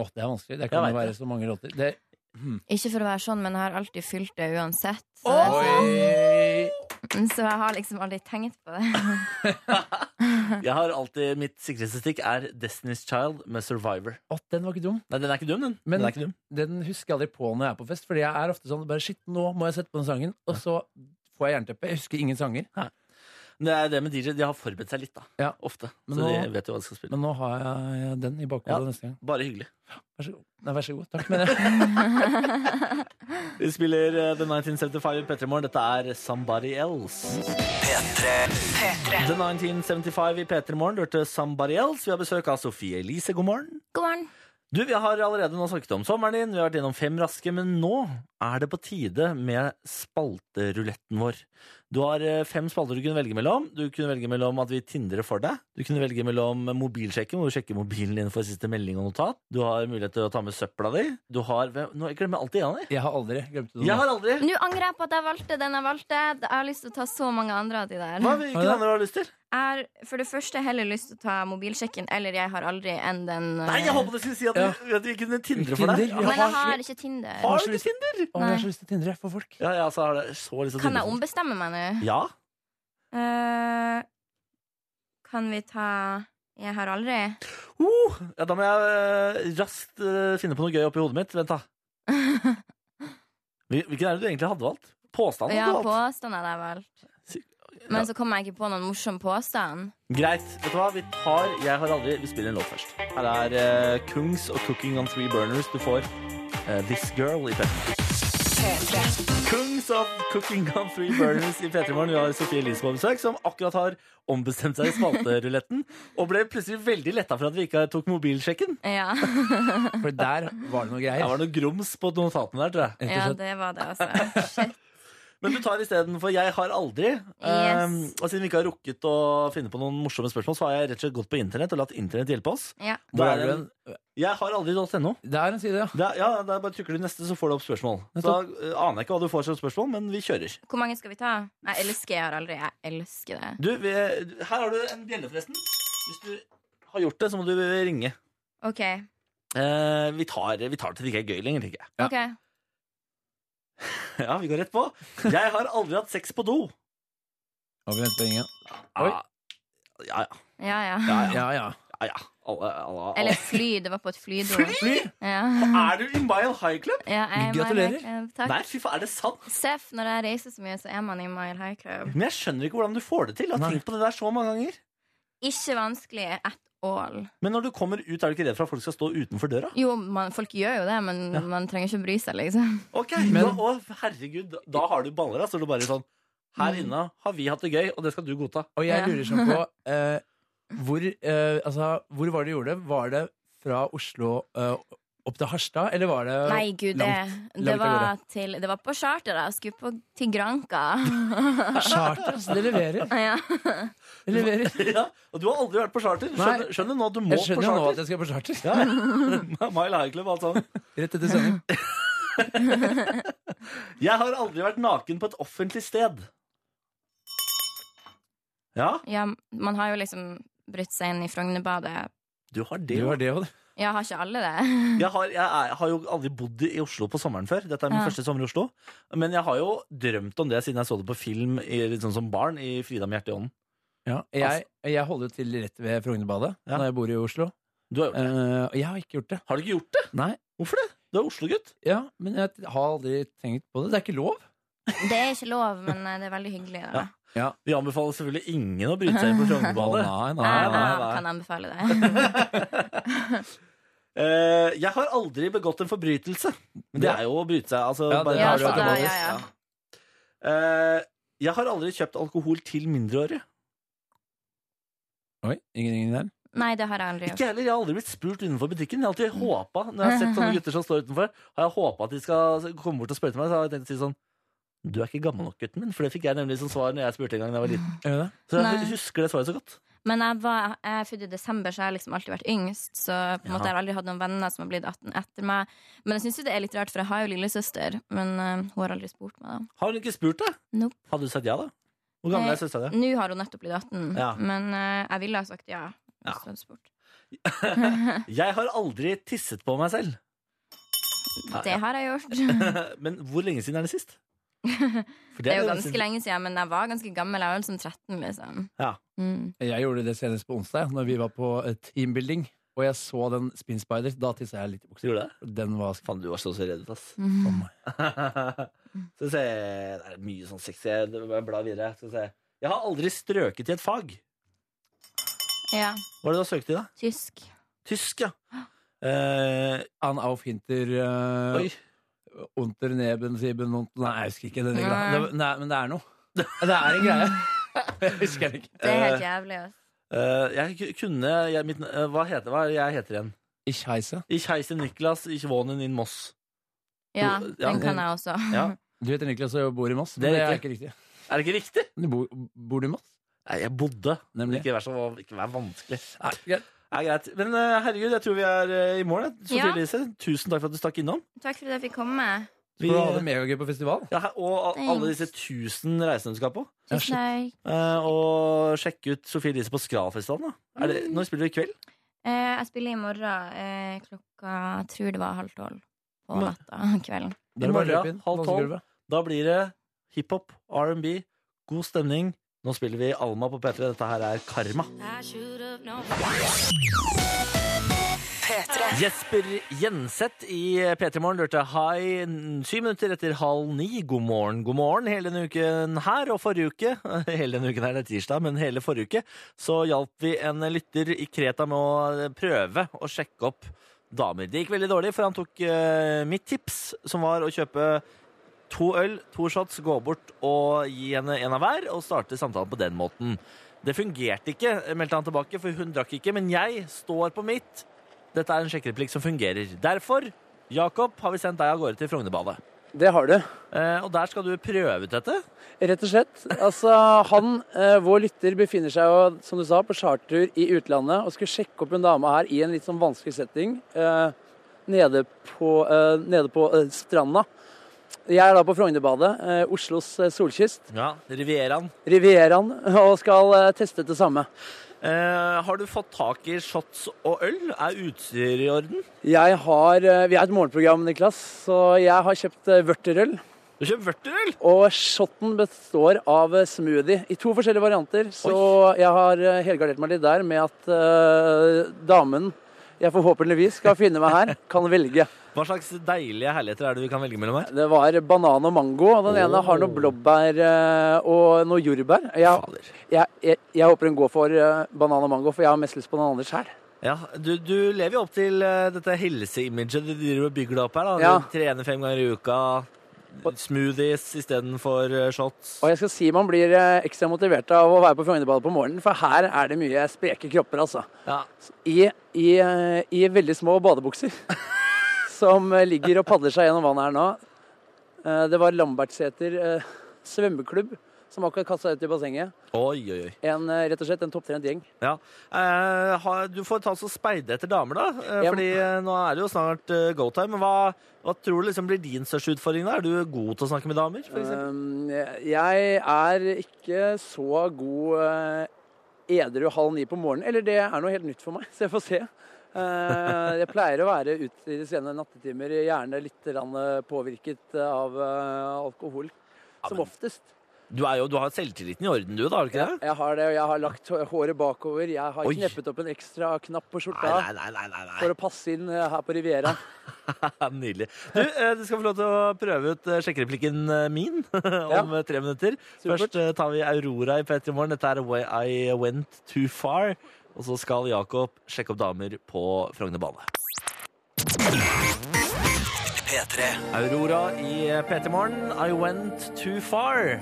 [SPEAKER 4] Åh, det er vanskelig. Det
[SPEAKER 2] Jeg
[SPEAKER 4] kan
[SPEAKER 2] vet
[SPEAKER 4] jo være
[SPEAKER 2] det.
[SPEAKER 4] så mange låter. Det,
[SPEAKER 6] Ikke for å være sånn, men jeg har alltid fylt det uansett. Så,
[SPEAKER 4] Oi!
[SPEAKER 6] så jeg har liksom aldri tenkt på det.
[SPEAKER 2] Jeg har alltid, Mitt sikreste stikk er Destiny's Child med Survivor.
[SPEAKER 4] Å, den var ikke dum.
[SPEAKER 2] Nei, den er ikke dum, den.
[SPEAKER 4] Men-
[SPEAKER 2] den er ikke dum.
[SPEAKER 4] Den husker jeg aldri på når jeg er på fest, fordi jeg er ofte sånn bare shit, nå må jeg sette på den sangen, og så får jeg jernteppe. Jeg husker ingen sanger.
[SPEAKER 2] Men Det er det med DJ, de har forberedt seg litt, da.
[SPEAKER 4] Ja.
[SPEAKER 2] Ofte.
[SPEAKER 4] Men
[SPEAKER 2] Så
[SPEAKER 4] nå-
[SPEAKER 2] de vet jo hva de skal spille.
[SPEAKER 4] Men nå har jeg den i bakhodet
[SPEAKER 2] Ja.
[SPEAKER 4] neste gang.
[SPEAKER 2] Bare hyggelig.
[SPEAKER 4] Vær så god. Nei, vær så god. Takk. Men jeg,
[SPEAKER 2] Vi spiller eh, The 1975 Petter Morgen. Dette er Somebody Else. The 1975 i P3 Morgen. Du hørte Somebody Else. Vi har besøk av Sofie Elise. God morgen.
[SPEAKER 6] God morgen.
[SPEAKER 2] Du, Vi har allerede nå snakket om sommeren din, vi har vært innom Fem raske, men nå er det på tide med spalteruletten vår. Du har eh, fem spalter du kunne velge mellom. Du kunne velge mellom at vi tindrer for deg. Du kunne velge mellom mobilsjekken, hvor du sjekker mobilen din for siste melding og notat. Du har mulighet til å ta med søpla di. Du har hvem- Nå, Jeg glemmer alltid Janni.
[SPEAKER 4] jeg har aldri glemt det.
[SPEAKER 2] Jeg har aldri
[SPEAKER 6] Nå angrer jeg på at jeg valgte den jeg valgte. Jeg har lyst til å ta så mange andre av de der.
[SPEAKER 2] Hva hvilken
[SPEAKER 4] det?
[SPEAKER 2] andre har du lyst til?
[SPEAKER 6] Jeg har for det første heller lyst til å ta mobilsjekken, eller jeg har aldri enn den eh,
[SPEAKER 2] Nei, jeg håpet du skulle si at, vi- at vi kunne tindre for deg.
[SPEAKER 4] Tinder,
[SPEAKER 2] Ja.
[SPEAKER 4] ja.
[SPEAKER 6] Men jeg har ikke Tinder.
[SPEAKER 2] Har
[SPEAKER 4] så
[SPEAKER 2] du ikke
[SPEAKER 4] lyst-
[SPEAKER 2] Tinder?
[SPEAKER 4] Å, jeg har så lyst til å tindre for folk.
[SPEAKER 2] Ja, ja, så har det så lyst til å
[SPEAKER 6] Kan
[SPEAKER 2] tindre
[SPEAKER 6] jeg
[SPEAKER 2] for-
[SPEAKER 6] ombestemme meg nå?
[SPEAKER 2] Ja.
[SPEAKER 6] Eh, kan vi ta Jeg har aldri
[SPEAKER 2] Uh, ja, da må jeg eh, raskt eh, finne på noe gøy oppi hodet mitt. Vent, da. Hvil- Hvilken er det du egentlig hadde valgt? Påstanden?
[SPEAKER 6] Ja,
[SPEAKER 2] hadde du valgt.
[SPEAKER 6] påstand hadde jeg valgt.
[SPEAKER 2] Ja.
[SPEAKER 6] Men så kommer jeg ikke på noen morsom påstand.
[SPEAKER 2] Greit. Vet du hva? Vi tar Jeg har aldri Vi spiller en låt først. Her er eh, Kungs og Cooking on Three Burners. Du får eh, This Girl i P3. Kungs of Cooking on Three Burners i P3 Morgen. Vi har Sofie Elise på besøk, som akkurat har ombestemt seg i spalteruletten. Og ble plutselig veldig letta for at vi ikke tok mobilsjekken.
[SPEAKER 6] Ja,
[SPEAKER 4] For der var det noe
[SPEAKER 2] Det
[SPEAKER 4] greier.
[SPEAKER 2] var noe grums på notatene der, tror jeg.
[SPEAKER 6] ja det var det, altså. Shit.
[SPEAKER 2] Men du tar istedenfor 'jeg har aldri'. Um, og siden vi ikke har rukket å finne på noen morsomme spørsmål, så har jeg rett og slett gått på internett og latt internett hjelpe oss.
[SPEAKER 6] Ja.
[SPEAKER 2] Da
[SPEAKER 4] Hvor
[SPEAKER 2] er
[SPEAKER 4] er
[SPEAKER 2] det en, jeg har aldri.no.
[SPEAKER 4] Det er en side, ja.
[SPEAKER 2] Det er- Ja, der bare trykker du neste, så får du opp spørsmål. Så da eh, aner jeg ikke hva du får som spørsmål, men vi kjører.
[SPEAKER 6] Hvor mange skal vi ta? Jeg elsker Jeg har aldri. Jeg elsker det.
[SPEAKER 2] Du, vi, her har du en bjelle, forresten. Hvis du har gjort det, så må du ringe.
[SPEAKER 6] OK.
[SPEAKER 2] Eh, vi, tar, vi tar det til det ikke er gøy lenger, tenker jeg.
[SPEAKER 4] Ja.
[SPEAKER 6] ok
[SPEAKER 2] Ja, vi går rett på. Jeg har aldri hatt sex på do.
[SPEAKER 4] Og vi venter på ringen. Oi.
[SPEAKER 2] Ja, Ah. ja.
[SPEAKER 6] Ja, ja.
[SPEAKER 4] Ja, ja.
[SPEAKER 2] ja, ja. Alle, alle, alle.
[SPEAKER 6] Eller fly. Det var på et flydo.
[SPEAKER 2] Fly!
[SPEAKER 6] Ja.
[SPEAKER 2] Er du i Mile High Club?
[SPEAKER 6] Ja, jeg,
[SPEAKER 4] Gratulerer.
[SPEAKER 6] jeg- eh, Takk.
[SPEAKER 2] Nei, fy faen, er det sant?
[SPEAKER 6] Seff, når jeg reiser så mye, så er man i Mile High Club.
[SPEAKER 2] Men jeg skjønner ikke hvordan du får det til. Jeg har
[SPEAKER 4] Nei.
[SPEAKER 2] tenkt på det der så mange ganger.
[SPEAKER 6] Ikke vanskelig at all.
[SPEAKER 2] Men når du kommer ut, er du ikke redd for at folk skal stå utenfor døra?
[SPEAKER 6] Jo, man, folk gjør jo det, men man trenger ikke å bry seg, liksom.
[SPEAKER 2] Ok,
[SPEAKER 4] Men-
[SPEAKER 2] da, å, herregud, da- da har du baller, altså. Du bare sånn Her
[SPEAKER 4] Mm.
[SPEAKER 2] inne har vi hatt det gøy, og det skal du godta.
[SPEAKER 4] Og jeg
[SPEAKER 6] Ja.
[SPEAKER 4] lurer sånn på eh, hvor, eh, altså, hvor var det du gjorde det? Var det fra Oslo eh, opp til Harstad, eller var det
[SPEAKER 6] Nei, gud, det,
[SPEAKER 4] langt-
[SPEAKER 6] det,
[SPEAKER 4] langt av
[SPEAKER 6] var
[SPEAKER 4] gårde.
[SPEAKER 6] til, det var på charter. da. Jeg skulle på, til Granca.
[SPEAKER 4] charter? Altså, det leverer.
[SPEAKER 6] ja.
[SPEAKER 4] Det leverer.
[SPEAKER 2] ja, og du har aldri vært på charter. Skjønner,
[SPEAKER 4] Nei.
[SPEAKER 2] skjønner nå at du må
[SPEAKER 4] Jeg
[SPEAKER 2] på
[SPEAKER 4] skjønner jo nå
[SPEAKER 2] charter.
[SPEAKER 4] at jeg skal på charter.
[SPEAKER 2] Ja, ja. Mile High Club, altså. alt sammen.
[SPEAKER 4] Rett etter sending.
[SPEAKER 2] Jeg har aldri vært naken på et offentlig sted. Ja,
[SPEAKER 6] ja, man har jo liksom brutt seg inn i Frognerbadet.
[SPEAKER 2] du har det.
[SPEAKER 4] Du har det òg, du.
[SPEAKER 6] Ja, har ikke alle det?
[SPEAKER 2] Jeg har, jeg, er, har jo aldri bodd i Oslo på sommeren før. Dette er min
[SPEAKER 6] Ja.
[SPEAKER 2] første sommer i Oslo. Men jeg har jo drømt om det siden jeg så det på film i, litt sånn som barn i Frida med hjertet i ånden.
[SPEAKER 4] Ja, jeg, jeg holder jo til rett ved Frognerbadet
[SPEAKER 2] Ja.
[SPEAKER 4] når jeg bor i Oslo.
[SPEAKER 2] Du har,
[SPEAKER 4] Eh, Og jeg har ikke gjort det.
[SPEAKER 2] har du ikke gjort det?
[SPEAKER 4] Nei.
[SPEAKER 2] Hvorfor det? Du er Oslo-gutt.
[SPEAKER 4] Ja, men jeg har aldri tenkt på det. Det er ikke lov.
[SPEAKER 6] Det er ikke lov, men eh, det er veldig hyggelig. Da.
[SPEAKER 2] Ja. Vi anbefaler selvfølgelig ingen å bryte seg inn på Frognerbadet.
[SPEAKER 4] Å, nei,
[SPEAKER 6] Jeg,
[SPEAKER 4] nei, nei.
[SPEAKER 6] jeg kan anbefale det.
[SPEAKER 2] Eh, jeg har aldri begått en forbrytelse. Men det er jo å bryte seg. Altså,
[SPEAKER 4] Ja, det
[SPEAKER 2] bare-
[SPEAKER 6] Ja,
[SPEAKER 4] har du
[SPEAKER 6] så da,
[SPEAKER 4] automatisk,
[SPEAKER 6] ja, ja.
[SPEAKER 2] Eh, jeg har aldri kjøpt alkohol til mindreårige.
[SPEAKER 4] Oi, ingen, ingen der?
[SPEAKER 6] Nei, det har jeg aldri gjort.
[SPEAKER 2] Ikke heller, Jeg har aldri blitt spurt utenfor butikken. Jeg har alltid håpa når jeg har sett sånne gutter som står utenfor, har jeg håpet at de skal komme bort og spørre til meg. Så har jeg tenkt å si sånn Du er ikke gammel nok, gutten min. For det fikk jeg nemlig som svar når jeg spurte en gang da jeg var liten.
[SPEAKER 4] Gjør vi det?
[SPEAKER 2] Så jeg
[SPEAKER 6] Nei.
[SPEAKER 2] husker det svaret så godt.
[SPEAKER 6] Men jeg, var, jeg er født i desember, så jeg har liksom alltid vært yngst. Så på en
[SPEAKER 2] Ja.
[SPEAKER 6] måte jeg har aldri hatt noen venner som har blitt 18 etter meg. Men jeg syns jo det er litt rart, for jeg har jo lillesøster, men eh, hun har aldri spurt meg, da.
[SPEAKER 2] Har hun ikke spurt deg?
[SPEAKER 6] Nope.
[SPEAKER 2] Hadde du sagt ja, da? Hvor gammel
[SPEAKER 6] Nei.
[SPEAKER 2] er søstera di?
[SPEAKER 6] Nå har hun nettopp blitt 18,
[SPEAKER 2] Ja.
[SPEAKER 6] men eh, jeg ville ha sagt ja.
[SPEAKER 2] Ja.
[SPEAKER 6] hvis du hadde spurt.
[SPEAKER 2] Jeg har aldri tisset på meg selv. Ja,
[SPEAKER 6] Det
[SPEAKER 2] ja.
[SPEAKER 6] har jeg gjort.
[SPEAKER 2] Men hvor lenge siden er det sist? For
[SPEAKER 6] Det er jo
[SPEAKER 2] lenge
[SPEAKER 6] ganske
[SPEAKER 2] siden.
[SPEAKER 6] lenge siden, men jeg var ganske gammel. Jeg var vel som 13, liksom.
[SPEAKER 2] Ja.
[SPEAKER 6] Mm.
[SPEAKER 4] Jeg gjorde det senest på onsdag, når vi var på eh, teambuilding. Og jeg så den Spin Spiders. Da tissa jeg litt i buksa.
[SPEAKER 2] Gjorde du det?
[SPEAKER 4] Den var sk-
[SPEAKER 2] Faen, du var så så redd ut, ass.
[SPEAKER 6] Mm.
[SPEAKER 2] Skal vi se Det er mye sånn sexy. Jeg blar videre. Skal vi se. Jeg har aldri strøket i et fag.
[SPEAKER 6] Ja.
[SPEAKER 2] Hva er det du har søkt i, da?
[SPEAKER 6] Tysk.
[SPEAKER 2] Tysk, ja. Eh,
[SPEAKER 7] An auf hinter eh,
[SPEAKER 2] oi.
[SPEAKER 7] Unter neben sieben und Nei, jeg husker ikke den regla.
[SPEAKER 6] Nei.
[SPEAKER 7] Det- Nei, men det er noe. Det er en greie. Jeg husker det ikke.
[SPEAKER 6] Det er helt jævlig. altså. ass.
[SPEAKER 2] Eh, jeg ku- kunne jeg, mitt, eh, Hva heter hva er det jeg heter igjen?
[SPEAKER 7] Ich heise.
[SPEAKER 2] Ich heise Niklas, ich wohnen in Moss.
[SPEAKER 6] Ja,
[SPEAKER 2] Jo, ja,
[SPEAKER 6] den kan jeg også.
[SPEAKER 2] Ja.
[SPEAKER 7] Du heter Niklas og bor i Moss.
[SPEAKER 2] Det er
[SPEAKER 7] men Det er ikke riktig.
[SPEAKER 2] Er det ikke riktig?
[SPEAKER 7] Du bor, bor du i Moss?
[SPEAKER 2] Nei, jeg bodde. Men
[SPEAKER 7] Nemlig.
[SPEAKER 2] ikke vær så ikke vær vanskelig.
[SPEAKER 7] Nei, greit.
[SPEAKER 2] Nei, greit. Men eh, herregud, jeg tror vi er eh, i mål. jeg. Sofie
[SPEAKER 6] Ja.
[SPEAKER 2] Elise, tusen takk for at du stakk innom.
[SPEAKER 6] Takk for at jeg fikk komme.
[SPEAKER 7] Vi hadde megagøy på festival.
[SPEAKER 2] ja, her- og
[SPEAKER 6] Thanks.
[SPEAKER 2] alle disse tusen reisene du skal på.
[SPEAKER 7] Ja,
[SPEAKER 6] Tusen takk.
[SPEAKER 2] Eh, og sjekke ut Sofie Elise på Skravfestivalen. da. Er det-
[SPEAKER 6] Mm.
[SPEAKER 2] Når spiller du i kveld?
[SPEAKER 6] Eh, jeg spiller i morgen eh, klokka jeg tror det var halv tolv på
[SPEAKER 2] Men-
[SPEAKER 6] natta kvelden.
[SPEAKER 7] Da er det bare å
[SPEAKER 2] morgen,
[SPEAKER 7] løpe inn,
[SPEAKER 2] halv tolv.
[SPEAKER 7] dansegulvet.
[SPEAKER 2] Da blir det hiphop, R&B, god stemning. Nå spiller vi Alma på P3. Dette her er Karma. Jesper Jenseth i P3 Morgen lurte hei n- syv minutter etter halv ni. God morgen, god morgen. Hele denne uken her og forrige uke, hele denne uken her det er tirsdag, men hele forrige uke, så hjalp vi en lytter i Kreta med å prøve å sjekke opp damer. Det gikk veldig dårlig, for han tok eh, mitt tips, som var å kjøpe to øl, to shots, gå bort og gi henne en av hver, og starte samtalen på den måten. Det fungerte ikke, meldte han tilbake, for hun drakk ikke, men jeg står på mitt. Dette er en sjekkereplikk som fungerer. Derfor, Jakob, har vi sendt deg av gårde til Frognerbadet.
[SPEAKER 4] Det har du.
[SPEAKER 2] Eh, og der skal du prøve ut dette.
[SPEAKER 4] Rett og slett. Altså, han, eh, vår lytter, befinner seg jo, som du sa, på chartertur i utlandet og skulle sjekke opp en dame her i en litt sånn vanskelig setting. Eh, nede på, eh, nede på eh, stranda. Jeg er da på Frognerbadet, eh, Oslos eh, solkyst,
[SPEAKER 2] Ja, Rivieraen.
[SPEAKER 4] Rivieraen, og skal eh, teste det samme.
[SPEAKER 2] Eh, har du fått tak i shots og øl? Er utstyret i orden?
[SPEAKER 4] Jeg har, eh, vi er et morgenprogram, Niklas, så jeg har kjøpt eh, vørterøl.
[SPEAKER 2] Du kjøper vørterøl!
[SPEAKER 4] Og shotten består av eh, smoothie i to forskjellige varianter. Så jeg har eh, helgardert meg litt der med at eh, damen jeg forhåpentligvis skal finne meg her, kan velge.
[SPEAKER 2] Hva slags deilige herligheter er det du kan velge mellom her?
[SPEAKER 4] Det var banan og mango, og den ene har noe blåbær eh, og noe jordbær. Jeg,
[SPEAKER 2] Fader.
[SPEAKER 4] jeg, jeg, jeg håper hun går for eh, banan og mango, for jeg har mest lyst på den andre sjøl.
[SPEAKER 2] Ja, du, du lever jo opp til eh, dette helseimaget du driver og bygger deg opp her. da. Du
[SPEAKER 4] Ja.
[SPEAKER 2] trener fem ganger i uka, smoothies istedenfor eh, shots.
[SPEAKER 4] Og jeg skal si man blir eh, ekstra motivert av å være på Frognerbadet på morgenen, for her er det mye spreke kropper, altså.
[SPEAKER 2] Ja.
[SPEAKER 4] i, i, eh, i veldig små badebukser. Som eh, ligger og padler seg gjennom vannet her nå. Eh, Det var Lambertseter eh, svømmeklubb som akkurat kasta ut i bassenget.
[SPEAKER 2] Oi, oi, oi.
[SPEAKER 4] En, eh, rett og slett en topptrent gjeng.
[SPEAKER 2] Ja. Eh, ha- du får ta oss og speide etter damer, da. Eh,
[SPEAKER 4] Ja, men-
[SPEAKER 2] fordi eh, nå er det jo snart eh, go time. Men hva, hva tror du liksom blir din største utfordring? da? Er du god til å snakke med damer? For eksempel?
[SPEAKER 4] Um, Jeg er ikke så god eh, edru halv ni på morgenen. Eller det er noe helt nytt for meg, så jeg får se. Eh, Jeg pleier å være ute i de sene nattetimer, gjerne litt grann eh, påvirket av eh, alkohol. Som oftest.
[SPEAKER 2] du, er jo, du har selvtilliten i orden, du, da? har du ikke det?
[SPEAKER 4] Jeg har det, og jeg har lagt hå- håret bakover. Jeg har
[SPEAKER 2] Oi.
[SPEAKER 4] kneppet opp en ekstra knapp på skjorta
[SPEAKER 2] Nei, nei, nei. nei, nei,
[SPEAKER 4] for å passe inn eh, her på Riviera.
[SPEAKER 2] nei. Nydelig. Du, eh, du skal få lov til å prøve ut eh, sjekkereplikken eh, min om eh, tre minutter.
[SPEAKER 4] Supert.
[SPEAKER 2] Først eh, tar vi Aurora i P3 Morgen. Dette er Way I Went Too Far. Og så skal Jakob sjekke opp damer på Frognerbadet.
[SPEAKER 1] P3.
[SPEAKER 2] Aurora i P3 Morgen, I went too far.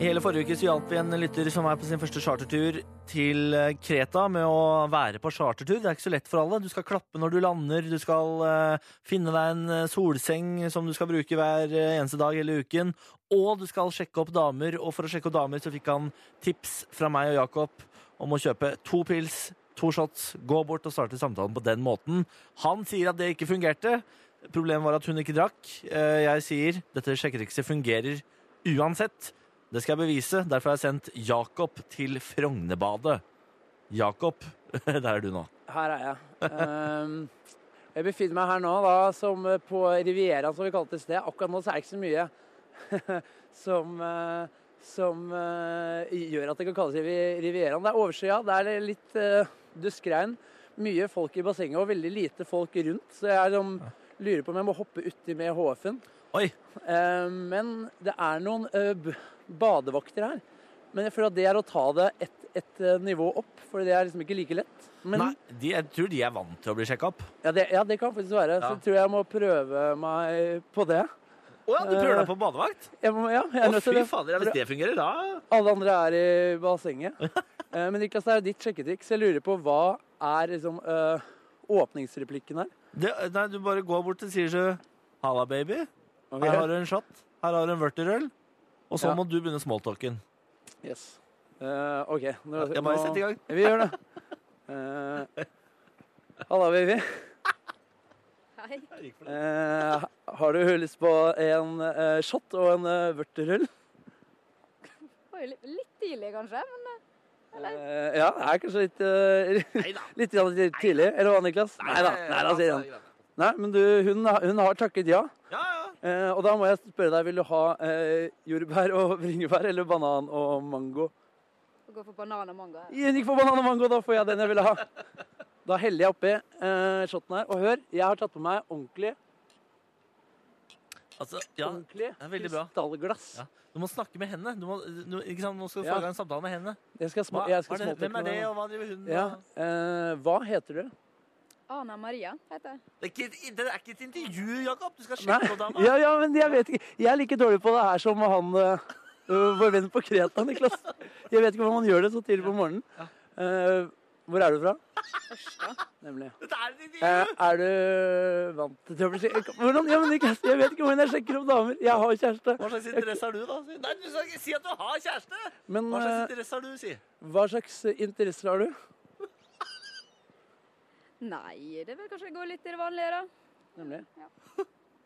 [SPEAKER 2] I hele forrige uke så hjalp vi en lytter som er på sin første chartertur til eh, Kreta med å være på chartertur. Det er ikke så lett for alle. Du skal klappe når du lander, du skal eh, finne deg en eh, solseng som du skal bruke hver eh, eneste dag hele uken, og du skal sjekke opp damer, og for å sjekke opp damer så fikk han tips fra meg og Jakob om å kjøpe to pils, to shots, gå bort og starte samtalen på den måten. Han sier at det ikke fungerte. Problemet var at hun ikke drakk. Eh, Jeg sier dette sjekketrikset fungerer uansett. Det skal jeg bevise. Derfor har jeg sendt Jakob til Frognerbadet. Jakob, der er du nå.
[SPEAKER 4] Her er jeg. Ehm, jeg befinner meg her nå da, som eh, på Rivieraen, som vi kalte det i sted. Akkurat nå så er det ikke så mye som, eh, som eh, gjør at det kan kalles Rivi- Rivieraen. Det er overskya, det er litt eh, duskregn. Mye folk i bassenget og veldig lite folk rundt. Så jeg er, som, lurer på om jeg må hoppe uti med Ehm, HF-en.
[SPEAKER 2] Oi,
[SPEAKER 4] Eh, Men det er noen eh, b- badevakter her Men jeg føler at det er å ta det et, et eh, nivå opp, for det er liksom ikke like lett. Men,
[SPEAKER 2] Nei, de, jeg tror de er vant til å bli sjekka opp.
[SPEAKER 4] ja, det, ja, det kan faktisk være.
[SPEAKER 2] Ja.
[SPEAKER 4] Så tror jeg jeg må prøve meg på det.
[SPEAKER 2] Å ja, du prøver deg på badevakt?
[SPEAKER 4] Jeg må, ja, jeg
[SPEAKER 2] Å,
[SPEAKER 4] er nødt til
[SPEAKER 2] fy
[SPEAKER 4] det.
[SPEAKER 2] fader, ja, hvis det fungerer, da
[SPEAKER 4] Alle andre er i bassenget. Eh, Men Niklas, det er jo ditt sjekketriks. Jeg lurer på hva er liksom eh, åpningsreplikken her?
[SPEAKER 2] det, Nei, du bare går bort og sier så Halla, baby.
[SPEAKER 4] Ok.
[SPEAKER 2] Her har du en shot. Her har du en vørterøl. Og så
[SPEAKER 4] Ja.
[SPEAKER 2] må du begynne smalltalken.
[SPEAKER 4] Yes. Eh, OK. Nå,
[SPEAKER 2] Jeg bare setter i gang.
[SPEAKER 4] Vi gjør det. Eh, Halla, baby.
[SPEAKER 6] Hei.
[SPEAKER 4] Eh, har du lyst på en eh, shot og en eh, vørterøll?
[SPEAKER 8] var jo litt, litt tidlig, kanskje. Men
[SPEAKER 4] Eh, ja, det er kanskje litt, eh, litt grann litt tidlig. Eller hva, Niklas? Nei da, nei da, sier han. Nei, men du, hun, har- hun har takket ja.
[SPEAKER 2] Ja, ja.
[SPEAKER 4] Eh, og da må jeg spørre deg, vil du ha eh, jordbær og bringebær eller banan og mango?
[SPEAKER 8] å gå for banan og mango her.
[SPEAKER 4] Hun gikk for banan og mango, da får jeg den jeg ville ha. Da heller jeg oppi eh, shoten her. Og hør, jeg har tatt på meg ordentlig,
[SPEAKER 2] Altså, ja.
[SPEAKER 4] ordentlig
[SPEAKER 2] er veldig bra.
[SPEAKER 4] krystallglass.
[SPEAKER 2] Ja. Du må snakke med henne. Du må, du, ikke sant? Nå skal du
[SPEAKER 4] Ja.
[SPEAKER 2] få i gang en samtale med henne.
[SPEAKER 4] Jeg skal, sma
[SPEAKER 2] Hva,
[SPEAKER 4] jeg skal
[SPEAKER 2] er det,
[SPEAKER 4] småtrykke
[SPEAKER 2] hvem er
[SPEAKER 4] med
[SPEAKER 2] det,
[SPEAKER 4] den.
[SPEAKER 2] og hva driver hun med?
[SPEAKER 4] Ja. Eh, hva heter du?
[SPEAKER 8] Ana Maria heter jeg.
[SPEAKER 2] Det, er ikke, et- det er ikke et intervju, Jakob. Du skal
[SPEAKER 4] Nei.
[SPEAKER 2] sjekke på dama.
[SPEAKER 4] Ja, ja, men jeg vet ikke. Jeg er like dårlig på det her som han eh, vår venn på Kreta, Niklas. Jeg vet ikke hvordan man gjør det så tidlig på morgenen. Eh, hvor er du fra?
[SPEAKER 8] Ørsta.
[SPEAKER 4] Nemlig.
[SPEAKER 2] Dette er et intervju!
[SPEAKER 4] Eh, er du vant til å bli sjekket? Hvordan? Ja, men Niklas, jeg vet ikke hvordan jeg sjekker om damer. Jeg har kjæreste.
[SPEAKER 2] Hva slags interesse har du, da? Si- Nei, du skal ikke si at du har kjæreste!
[SPEAKER 4] Men
[SPEAKER 2] Hva slags
[SPEAKER 4] eh,
[SPEAKER 2] interesse har du, si?
[SPEAKER 4] hva slags interesser har du?
[SPEAKER 8] Nei, det vil kanskje gå litt i det vanlige, da.
[SPEAKER 4] Nemlig.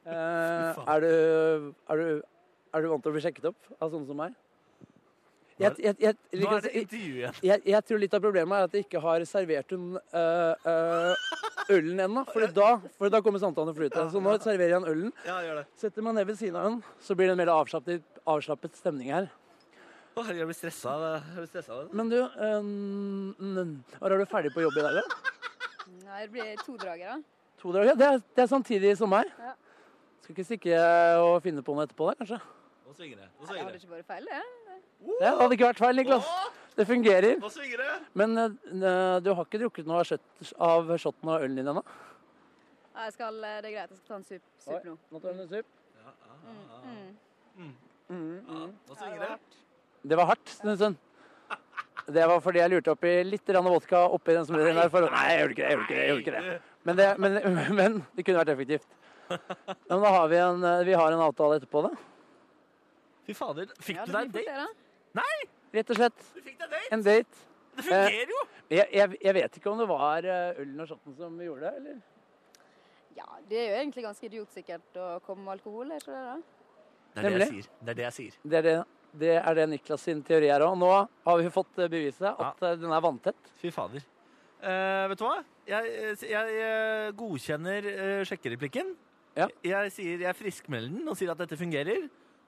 [SPEAKER 4] Eh, er, du, er, du, er du vant til å bli sjekket opp av sånne som meg? Jeg, jeg, jeg,
[SPEAKER 2] Nå er
[SPEAKER 4] Niklas,
[SPEAKER 2] det intervju igjen.
[SPEAKER 4] jeg, jeg tror litt av problemet er at jeg ikke har servert hun øh, øh, ølen ennå. For da, for da kommer samtalen til å flyte. Så nå serverer jeg han ølen.
[SPEAKER 2] Ja, gjør det.
[SPEAKER 4] Setter meg ned ved siden av hun, så blir det en mer avslappet, avslappet stemning her.
[SPEAKER 2] Å, herregud, jeg blir stressa. Jeg blir stressa av det.
[SPEAKER 4] Men du, øh, n- n- er du ferdig på jobb i dag, eller?
[SPEAKER 8] Nei, det blir to drager, da.
[SPEAKER 4] To dager? Ja, Det, er- det er samtidig som meg.
[SPEAKER 8] Ja.
[SPEAKER 4] Skal ikke stikke øh, og finne på noe etterpå der, kanskje?
[SPEAKER 2] Nå svinger det. Nå
[SPEAKER 8] Det
[SPEAKER 2] svinger
[SPEAKER 8] hadde
[SPEAKER 2] det.
[SPEAKER 8] ikke vært feil, det.
[SPEAKER 4] Det hadde ikke vært feil, Niklas. Det fungerer.
[SPEAKER 2] Nå svinger det!
[SPEAKER 4] Men øh, n- du har ikke drukket noe av shot- av shotten av ølen din ennå?
[SPEAKER 8] Nei, jeg skal, eh, det er greit. Jeg skal ta en sup,
[SPEAKER 4] Oi,
[SPEAKER 8] sup nå.
[SPEAKER 4] Nå tar hun en sup.
[SPEAKER 8] Mm.
[SPEAKER 2] Nå svinger det.
[SPEAKER 4] Det var hardt, Snusen. Det var fordi jeg lurte oppi litt grann vodka oppi den smoothien der. For... Nei, jeg gjorde ikke det. jeg gjorde ikke det, jeg gjorde ikke det. Men det, men, men det kunne vært effektivt. Ja, Men da har vi en, eh, vi har en avtale etterpå, da.
[SPEAKER 2] Fy fader, fikk
[SPEAKER 8] Ja,
[SPEAKER 2] du
[SPEAKER 8] det
[SPEAKER 2] deg
[SPEAKER 8] blir
[SPEAKER 2] en
[SPEAKER 8] fort
[SPEAKER 2] date?
[SPEAKER 8] det, da.
[SPEAKER 4] Rett og slett
[SPEAKER 2] Du fikk deg date?
[SPEAKER 4] en date.
[SPEAKER 2] Det
[SPEAKER 4] Eh,
[SPEAKER 2] fungerer jo!
[SPEAKER 4] Jeg, jeg, jeg vet ikke om det var eh, ølen og shotten som gjorde det, eller?
[SPEAKER 8] Ja, det er jo egentlig ganske idiotsikkert å komme med alkohol, er ikke det? da?
[SPEAKER 2] Det er det jeg
[SPEAKER 4] Nemlig.
[SPEAKER 2] sier. Det er det jeg sier.
[SPEAKER 4] Det er det, det, er det Niklas sin teori er òg. Nå har vi fått eh, beviset at eh, den er vanntett.
[SPEAKER 2] Fy fader. Eh, vet du hva? Jeg, jeg, eh, godkjenner eh, sjekkereplikken.
[SPEAKER 4] Ja.
[SPEAKER 2] Jeg, sier, jeg friskmelder den og sier at dette fungerer.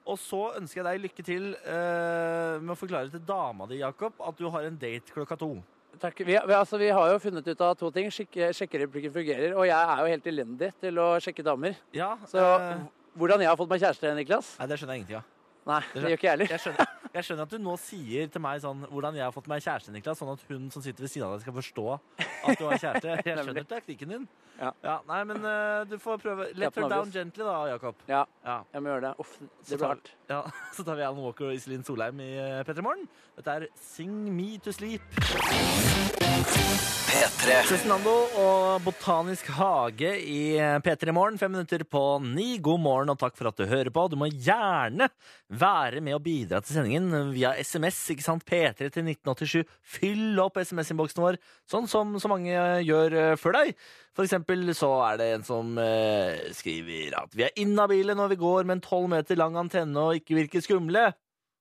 [SPEAKER 2] Og så ønsker jeg deg lykke til eh, med å forklare til dama di, Jakob, at du har en date klokka to.
[SPEAKER 4] Takk. Vi, vi, altså, vi har jo funnet ut av to ting. Sjekke- Sjekkereplikken fungerer. Og jeg er jo helt elendig til å sjekke damer.
[SPEAKER 2] Ja,
[SPEAKER 4] Så
[SPEAKER 2] eh,
[SPEAKER 4] hvordan jeg har fått meg kjæreste, Niklas?
[SPEAKER 2] Nei, det skjønner jeg ingenting av.
[SPEAKER 4] Nei, det gjør ikke jeg heller.
[SPEAKER 2] Jeg skjønner, jeg skjønner at du nå sier til meg sånn hvordan jeg har fått meg kjæreste, Niklas, sånn at hun som sitter ved siden av deg skal forstå at du har kjæreste. Jeg skjønner teknikken din.
[SPEAKER 4] Ja.
[SPEAKER 2] nei, men eh, du får prøve. Let
[SPEAKER 4] Captain
[SPEAKER 2] her down
[SPEAKER 4] Obvious.
[SPEAKER 2] gently da, Jakob.
[SPEAKER 4] Ja,
[SPEAKER 2] Ja.
[SPEAKER 4] jeg må gjøre det. Uff,
[SPEAKER 2] Så
[SPEAKER 4] det
[SPEAKER 2] tar,
[SPEAKER 4] blir hardt.
[SPEAKER 2] Ja, så tar vi Alan Walker og Iselin Solheim i eh, P3 Morgen. Dette er Sing Me To Sleep.
[SPEAKER 1] P3.
[SPEAKER 2] Cezinando og Botanisk hage i P3 Morgen. Fem minutter på ni. God morgen og takk for at du hører på. Du må gjerne være med og bidra til sendingen via SMS. ikke sant? P3 til 1987. Fyll opp SMS-innboksen vår, sånn som så mange gjør eh, før deg. For eksempel så er det en som eh, skriver at vi er inhabile når vi går med en tolv meter lang antenne og ikke virker skumle.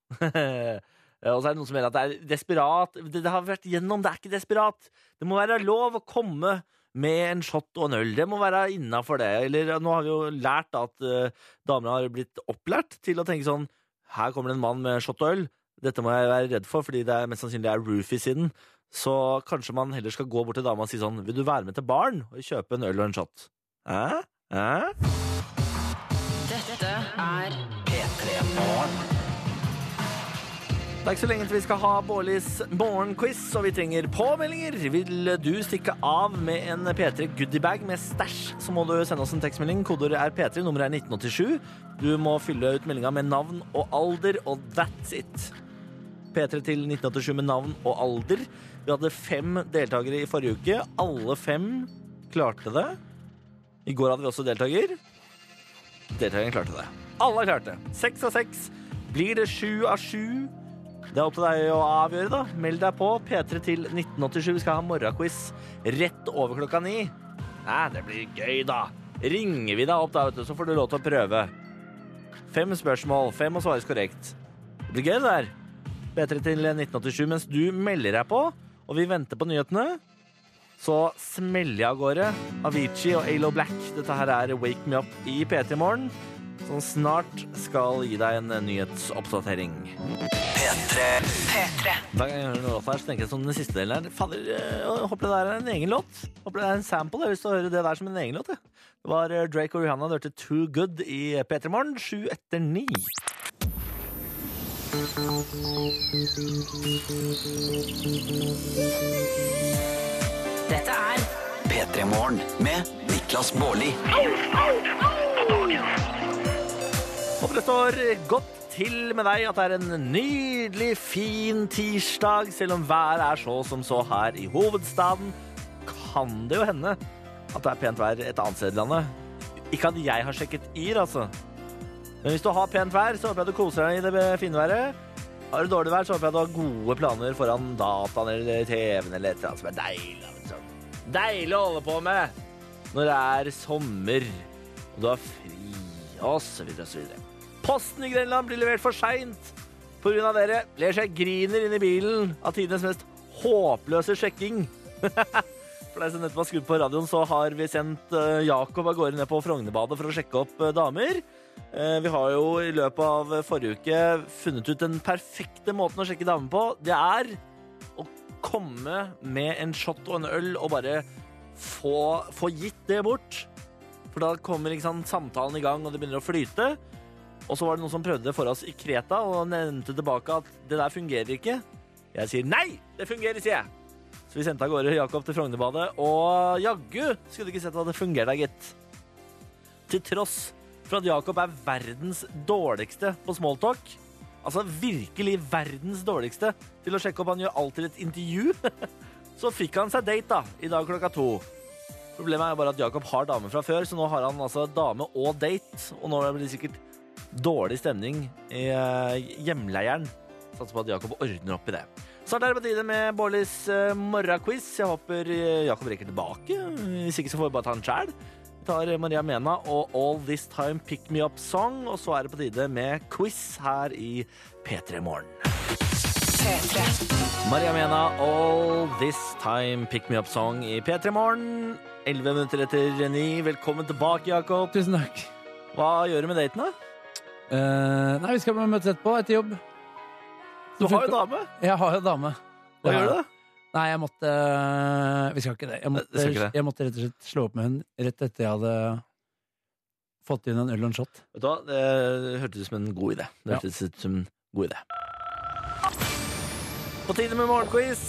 [SPEAKER 2] Ja, Og så er det noen som mener at det er desperat. Det, det har vi vært gjennom, det er ikke desperat. Det må være lov å komme med en shot og en øl. Det må være innafor det. Eller ja, nå har vi jo lært da at eh, damer har blitt opplært til å tenke sånn Her kommer det en mann med shot og øl. Dette må jeg være redd for, fordi det er mest sannsynlig er roofies i den. Så kanskje man heller skal gå bort til dama og si sånn Vil du være med til baren og kjøpe en øl og en shot? Hæ? Hæ?
[SPEAKER 9] Dette er
[SPEAKER 2] P3 Morgen. Det er ikke så lenge til vi skal ha Bårlis morgenquiz, og vi trenger påmeldinger. Vil du stikke av med en P3 goodiebag med stæsj, så må du sende oss en tekstmelding. Kodeordet er P3, nummeret er 1987. Du må fylle ut meldinga med navn og alder, og that's it. P3 til 1987 med navn og alder. Vi hadde fem deltakere i forrige uke. Alle fem klarte det. I går hadde vi også deltaker. Deltakeren klarte det. Alle klarte det. Seks av seks. Blir det sju av sju? Det er opp til deg å avgjøre, da. Meld deg på. P3 til 1987. Vi skal ha morgenquiz rett over klokka ni. Nei, det blir gøy, da. Ringer vi deg opp da, vet du, så får du lov til å prøve. Fem spørsmål. Fem må svares korrekt. Det blir gøy, det der. P3 til 1987 mens du melder deg på, og vi venter på nyhetene. Så smeller jeg av gårde Avicii og Alo Black. Dette her er Wake Me Up i P3 Morgen, som snart skal gi deg en nyhetsoppdatering.
[SPEAKER 1] P3.
[SPEAKER 2] Hver gang jeg hører noen låt her, så tenker jeg som den siste delen her. Fader, øh, håper det der er en egen låt. Håper det er en sample. Jeg har lyst til å høre det der som en egen låt. jeg. Det var øh, Drake og Rihanna. Du hørte Too Good i P3 Morgen, sju etter ni.
[SPEAKER 3] Dette er
[SPEAKER 1] P3 Morgen med Niklas Baarli.
[SPEAKER 2] Håper det står godt til med deg, at det er en nydelig, fin tirsdag. Selv om været er så som så her i hovedstaden, kan det jo hende at det er pent vær et annet sted i landet. Ikke at jeg har sjekket yr, altså. Men hvis du har pent vær, så håper jeg du koser deg i det fine været. Har du dårlig vær, så håper jeg du har gode planer foran dataen eller TV-en eller et eller annet som er deilig. altså. Deilig å holde på med når det er sommer og du har fri, og så videre og så videre. Posten i Grenland blir levert for seint pga. dere. Ler seg griner inn i bilen av tidenes mest håpløse sjekking. For deg som nettopp har skrudd på radioen, så har vi sendt eh, Jakob av gårde ned på Frognerbadet for å sjekke opp eh, damer. Eh, Vi har jo i løpet av eh, forrige uke funnet ut den perfekte måten å sjekke damer på. Det er å komme med en shot og en øl og bare få, få gitt det bort. For da kommer ikke sant, samtalen i gang, og det begynner å flyte. Og så var det noen som prøvde det for oss i Kreta, og nevnte tilbake at det der fungerer ikke. Jeg sier nei, det fungerer, sier jeg. Så vi sendte av gårde Jakob til Frognerbadet, og jaggu skulle du ikke sett at det fungerer der, gitt. Til tross for at Jakob er verdens dårligste på smalltalk, altså virkelig verdens dårligste til å sjekke opp han gjør alltid et intervju, så fikk han seg date da, i dag klokka to. Problemet er bare at Jakob har dame fra før, så nå har han altså dame og date, og nå blir det sikkert dårlig stemning i eh, hjemleiren. Satser på at Jakob ordner opp i det. Snart er det på tide med Bårlis uh, morgenquiz. Jeg håper eh, Jakob rekker tilbake. Hvis ikke så får vi bare ta den sjæl. Vi tar eh, Maria Mena og All This Time Pick Me Up Song, og så er det på tide med quiz her i P3 Morgen. Maria Mena, All This Time Pick Me Up Song i P3 Morgen. 11 minutter etter ni. Velkommen tilbake, Jakob.
[SPEAKER 4] Tusen takk.
[SPEAKER 2] Hva gjør du med daten, da?
[SPEAKER 4] Eh, nei, vi skal møtes etterpå, etter jobb.
[SPEAKER 2] Du har jo dame.
[SPEAKER 4] Jeg har jo dame.
[SPEAKER 2] Hva gjør du? da?
[SPEAKER 4] Nei, jeg måtte øh, Vi skal ikke det. Jeg måtte,
[SPEAKER 2] vi skal ikke det.
[SPEAKER 4] jeg måtte rett og slett slå opp med hun rett etter jeg hadde fått inn en øl og en shot.
[SPEAKER 2] Vet du hva, det hørtes ut som en god idé. Det
[SPEAKER 4] Ja.
[SPEAKER 2] hørtes ut som en god idé. På tide med morgenquiz.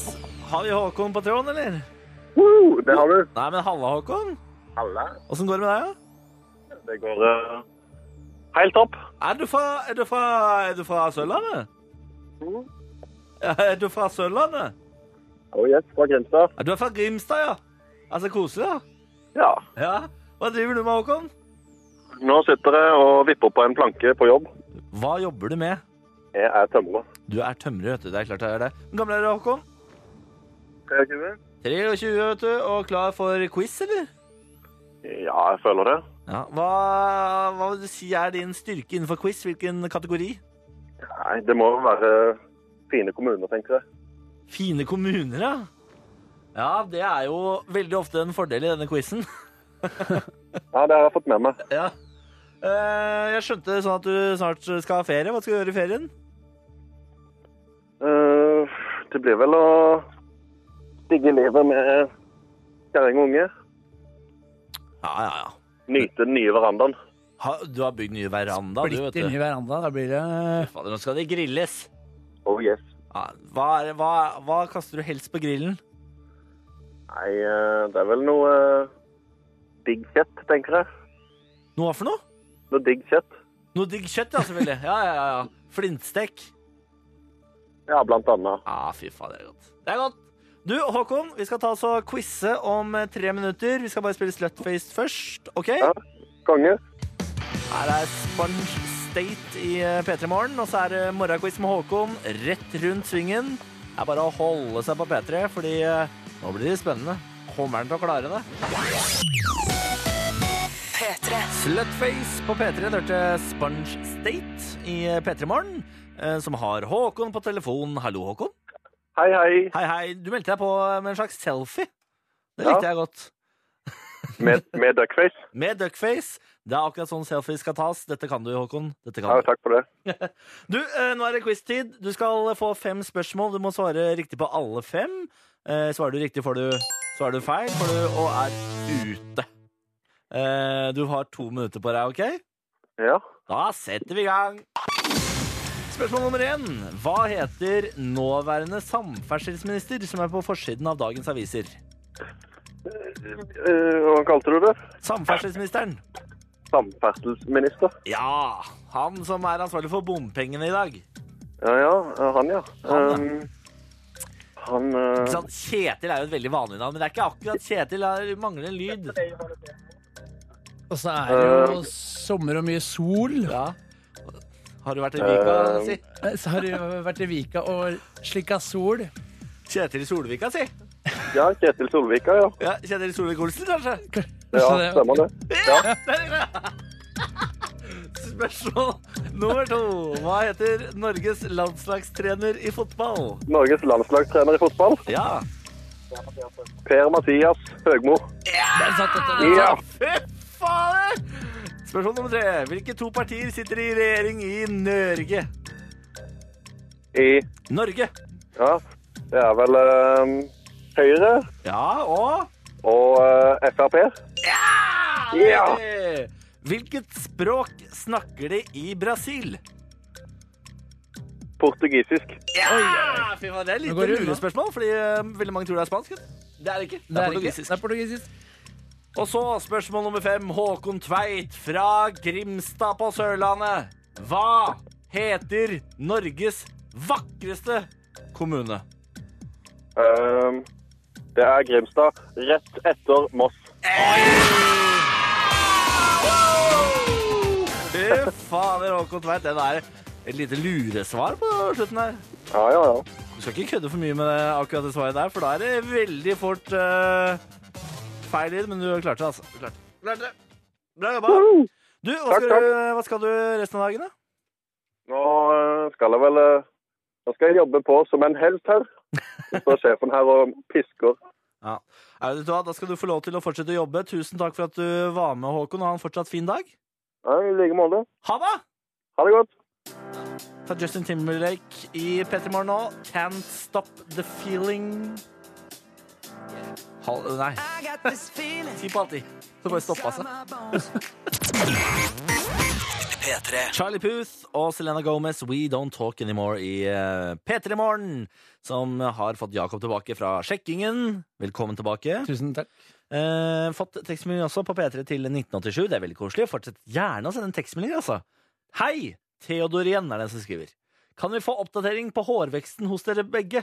[SPEAKER 2] Har vi Håkon på tråden, eller?
[SPEAKER 10] Woo, det har du.
[SPEAKER 2] Nei, men halla, Håkon.
[SPEAKER 10] Halla.
[SPEAKER 2] Åssen går det med deg, da?
[SPEAKER 10] Det går eh, helt opp.
[SPEAKER 2] Er du fra, er du fra, er du fra Sørlandet?
[SPEAKER 10] Mm.
[SPEAKER 2] Ja, Er du fra Sørlandet?
[SPEAKER 10] Oh yes, fra Grimstad.
[SPEAKER 2] Ja, du er fra Grimstad, ja? Altså koselig, da?
[SPEAKER 10] Ja.
[SPEAKER 2] Ja. Hva driver du med, Håkon?
[SPEAKER 10] Nå sitter jeg og vipper på en planke på jobb.
[SPEAKER 2] Hva jobber du med?
[SPEAKER 10] Jeg er tømrer.
[SPEAKER 2] Du er tømrer, vet du. Det er klart jeg er det. Hvor gammel er du, Håkon?
[SPEAKER 10] 23?
[SPEAKER 2] 23, vet du. Og klar for quiz, eller?
[SPEAKER 10] Ja, jeg føler det.
[SPEAKER 2] Ja, hva, hva vil du si er din styrke innenfor quiz? Hvilken kategori?
[SPEAKER 10] Nei, det må jo være fine kommuner, tenker jeg.
[SPEAKER 2] Fine kommuner, ja. Ja, det er jo veldig ofte en fordel i denne quizen.
[SPEAKER 10] Ja, det har jeg fått med meg.
[SPEAKER 2] ja. Eh, jeg skjønte sånn at du snart skal ha ferie. Hva skal du gjøre i ferien?
[SPEAKER 10] Eh, det blir vel å digge livet med kjerring og unge.
[SPEAKER 2] Ja, ja, ja.
[SPEAKER 10] Nyte den nye verandaen.
[SPEAKER 2] Ha, du har bygd nye veranda, du, vet
[SPEAKER 4] Splitter ny
[SPEAKER 2] du.
[SPEAKER 4] veranda. Da blir det
[SPEAKER 2] Fader, nå skal det grilles.
[SPEAKER 10] Å Oh yes.
[SPEAKER 2] Ja, hva, er, hva, hva kaster du helst på grillen?
[SPEAKER 10] Nei, eh, det er vel noe eh, digg kjøtt, tenker jeg.
[SPEAKER 2] Noe hva for noe?
[SPEAKER 10] Noe digg kjøtt.
[SPEAKER 2] Noe digg kjøtt, ja, selvfølgelig. Ja, ja, ja, ja. Flintstek.
[SPEAKER 10] Ja, blant annet.
[SPEAKER 2] Ja, fy faen, det er godt. Det er godt. Du, Håkon, vi skal ta oss og quize om eh, tre minutter. Vi skal bare spille Slutface først, OK?
[SPEAKER 10] Ja. Konge.
[SPEAKER 2] Her er Sponge State i eh, P3 Morgen, og så er det morgenquiz med Håkon rett rundt svingen. Det er bare å holde seg på P3, fordi eh, nå blir det spennende. Kommer han til å klare det?
[SPEAKER 3] P3.
[SPEAKER 2] Slutface på P3 Det hørte Sponge State i P3 Morgen, eh, som har Håkon på telefon. Hallo, Håkon.
[SPEAKER 10] Hei, hei.
[SPEAKER 2] Hei, hei. Du meldte deg på med en slags selfie. Det
[SPEAKER 10] Ja.
[SPEAKER 2] likte jeg godt.
[SPEAKER 10] Med, med duckface.
[SPEAKER 2] Med duckface. Det er akkurat sånn selfie skal tas. Dette kan du, Håkon. Dette
[SPEAKER 10] Ja,
[SPEAKER 2] kan du.
[SPEAKER 10] takk for det.
[SPEAKER 2] Du, eh, nå er det quiz-tid. Du skal få fem spørsmål. Du må svare riktig på alle fem. Eh, Svarer du riktig, får du Svarer du feil, får du og er ute. Eh, Du har to minutter på deg, OK?
[SPEAKER 10] Ja.
[SPEAKER 2] Da setter vi i gang. Spørsmål nummer én. Hva heter nåværende samferdselsminister som er på forsiden av dagens aviser?
[SPEAKER 10] Eh, hva kalte du det?
[SPEAKER 2] Samferdselsministeren.
[SPEAKER 10] Samferdselsminister.
[SPEAKER 2] Ja, han som er ansvarlig for bompengene i dag. Ikke
[SPEAKER 10] Ja, ja. Han, ja.
[SPEAKER 2] Han, ja.
[SPEAKER 10] Um, han eh,
[SPEAKER 2] sant? Kjetil er jo et veldig vanlig navn, men det er ikke akkurat Kjetil. Det mangler en lyd.
[SPEAKER 4] eh, Og så er det jo sommer og mye sol.
[SPEAKER 2] Ja. Har du vært i Vika?
[SPEAKER 10] Eh,
[SPEAKER 2] Si?
[SPEAKER 4] Eh, Så har du jo vært i Vika og slikka sol.
[SPEAKER 2] Kjetil Solvika, si.
[SPEAKER 10] Ja, Kjetil Solvika, ja.
[SPEAKER 2] Ja, Kjetil Solvik-Olsen, kanskje?
[SPEAKER 10] Ja,
[SPEAKER 4] Så det-
[SPEAKER 10] stemmer det. Ja.
[SPEAKER 2] Spørsmål nummer to. Hva heter Norges landslagstrener i fotball?
[SPEAKER 10] Norges landslagstrener i fotball.
[SPEAKER 2] Ja.
[SPEAKER 10] Per Mathias Høgmo.
[SPEAKER 4] Jeg satt dette der.
[SPEAKER 10] Ja.
[SPEAKER 2] Fy fader! Spørsmål nummer tre. Hvilke to partier sitter i regjering i Norge?
[SPEAKER 10] I
[SPEAKER 2] Norge.
[SPEAKER 10] Ja, det er vel eh, Høyre
[SPEAKER 2] Ja, og
[SPEAKER 10] og eh, Frp. Ja!
[SPEAKER 2] Hvilket språk snakker de i Brasil?
[SPEAKER 10] Portugisisk.
[SPEAKER 2] Ja! Ah, Fy faen, det er et
[SPEAKER 4] Nå går
[SPEAKER 2] lite
[SPEAKER 4] det unna.
[SPEAKER 2] lurespørsmål, fordi eh, veldig mange tror det er spansk. Det er det ikke.
[SPEAKER 4] Det er ikke-
[SPEAKER 2] portugisisk.
[SPEAKER 4] Det er portugisisk.
[SPEAKER 2] Og så spørsmål nummer fem. Håkon Tveit fra Grimstad på Sørlandet. Hva heter Norges vakreste kommune?
[SPEAKER 10] Eh, det er Grimstad rett etter Moss.
[SPEAKER 2] Fy fader, Håkon Tveit. Det er et lite luresvar på slutten her.
[SPEAKER 10] Ja, ja, ja.
[SPEAKER 2] Du skal ikke kødde for mye med det, akkurat det svaret der, for da er det veldig fort eh, feil i det, men du klarte det, altså. Du klarte, det. klarte det. Bra jobba. Du, hva
[SPEAKER 10] Takk,
[SPEAKER 2] skal,
[SPEAKER 10] takk.
[SPEAKER 2] du, hva skal du resten av dagen, da?
[SPEAKER 10] Nå eh, skal jeg vel eh, Nå skal jeg jobbe på som en helt her. Så står sjefen her og pisker.
[SPEAKER 2] Ja, vet du hva, Da skal du få lov til å fortsette å jobbe. Tusen takk for at du var med, Håkon. og Ha en fortsatt fin dag.
[SPEAKER 10] Ja, I like måte.
[SPEAKER 2] Ha det!
[SPEAKER 10] Ha det godt.
[SPEAKER 2] Ta Justin Timberlake i P3 Morgen nå. Can't Stop The Feeling. Hal nei, ti på halv ti. Så bare altså. stoppa seg.
[SPEAKER 1] P3.
[SPEAKER 2] Charlie Puth og Selena Gomez, We Don't Talk Anymore i eh, P3 Morgen, som har fått Jakob tilbake fra sjekkingen. Velkommen tilbake.
[SPEAKER 4] Tusen takk.
[SPEAKER 2] Eh, fått tekstmelding også på P3 til 1987. Det er veldig koselig. Fortsett gjerne å sende en tekstmelding, altså. Hei! Theodor igjen er den som skriver. Kan vi få oppdatering på hårveksten hos dere begge?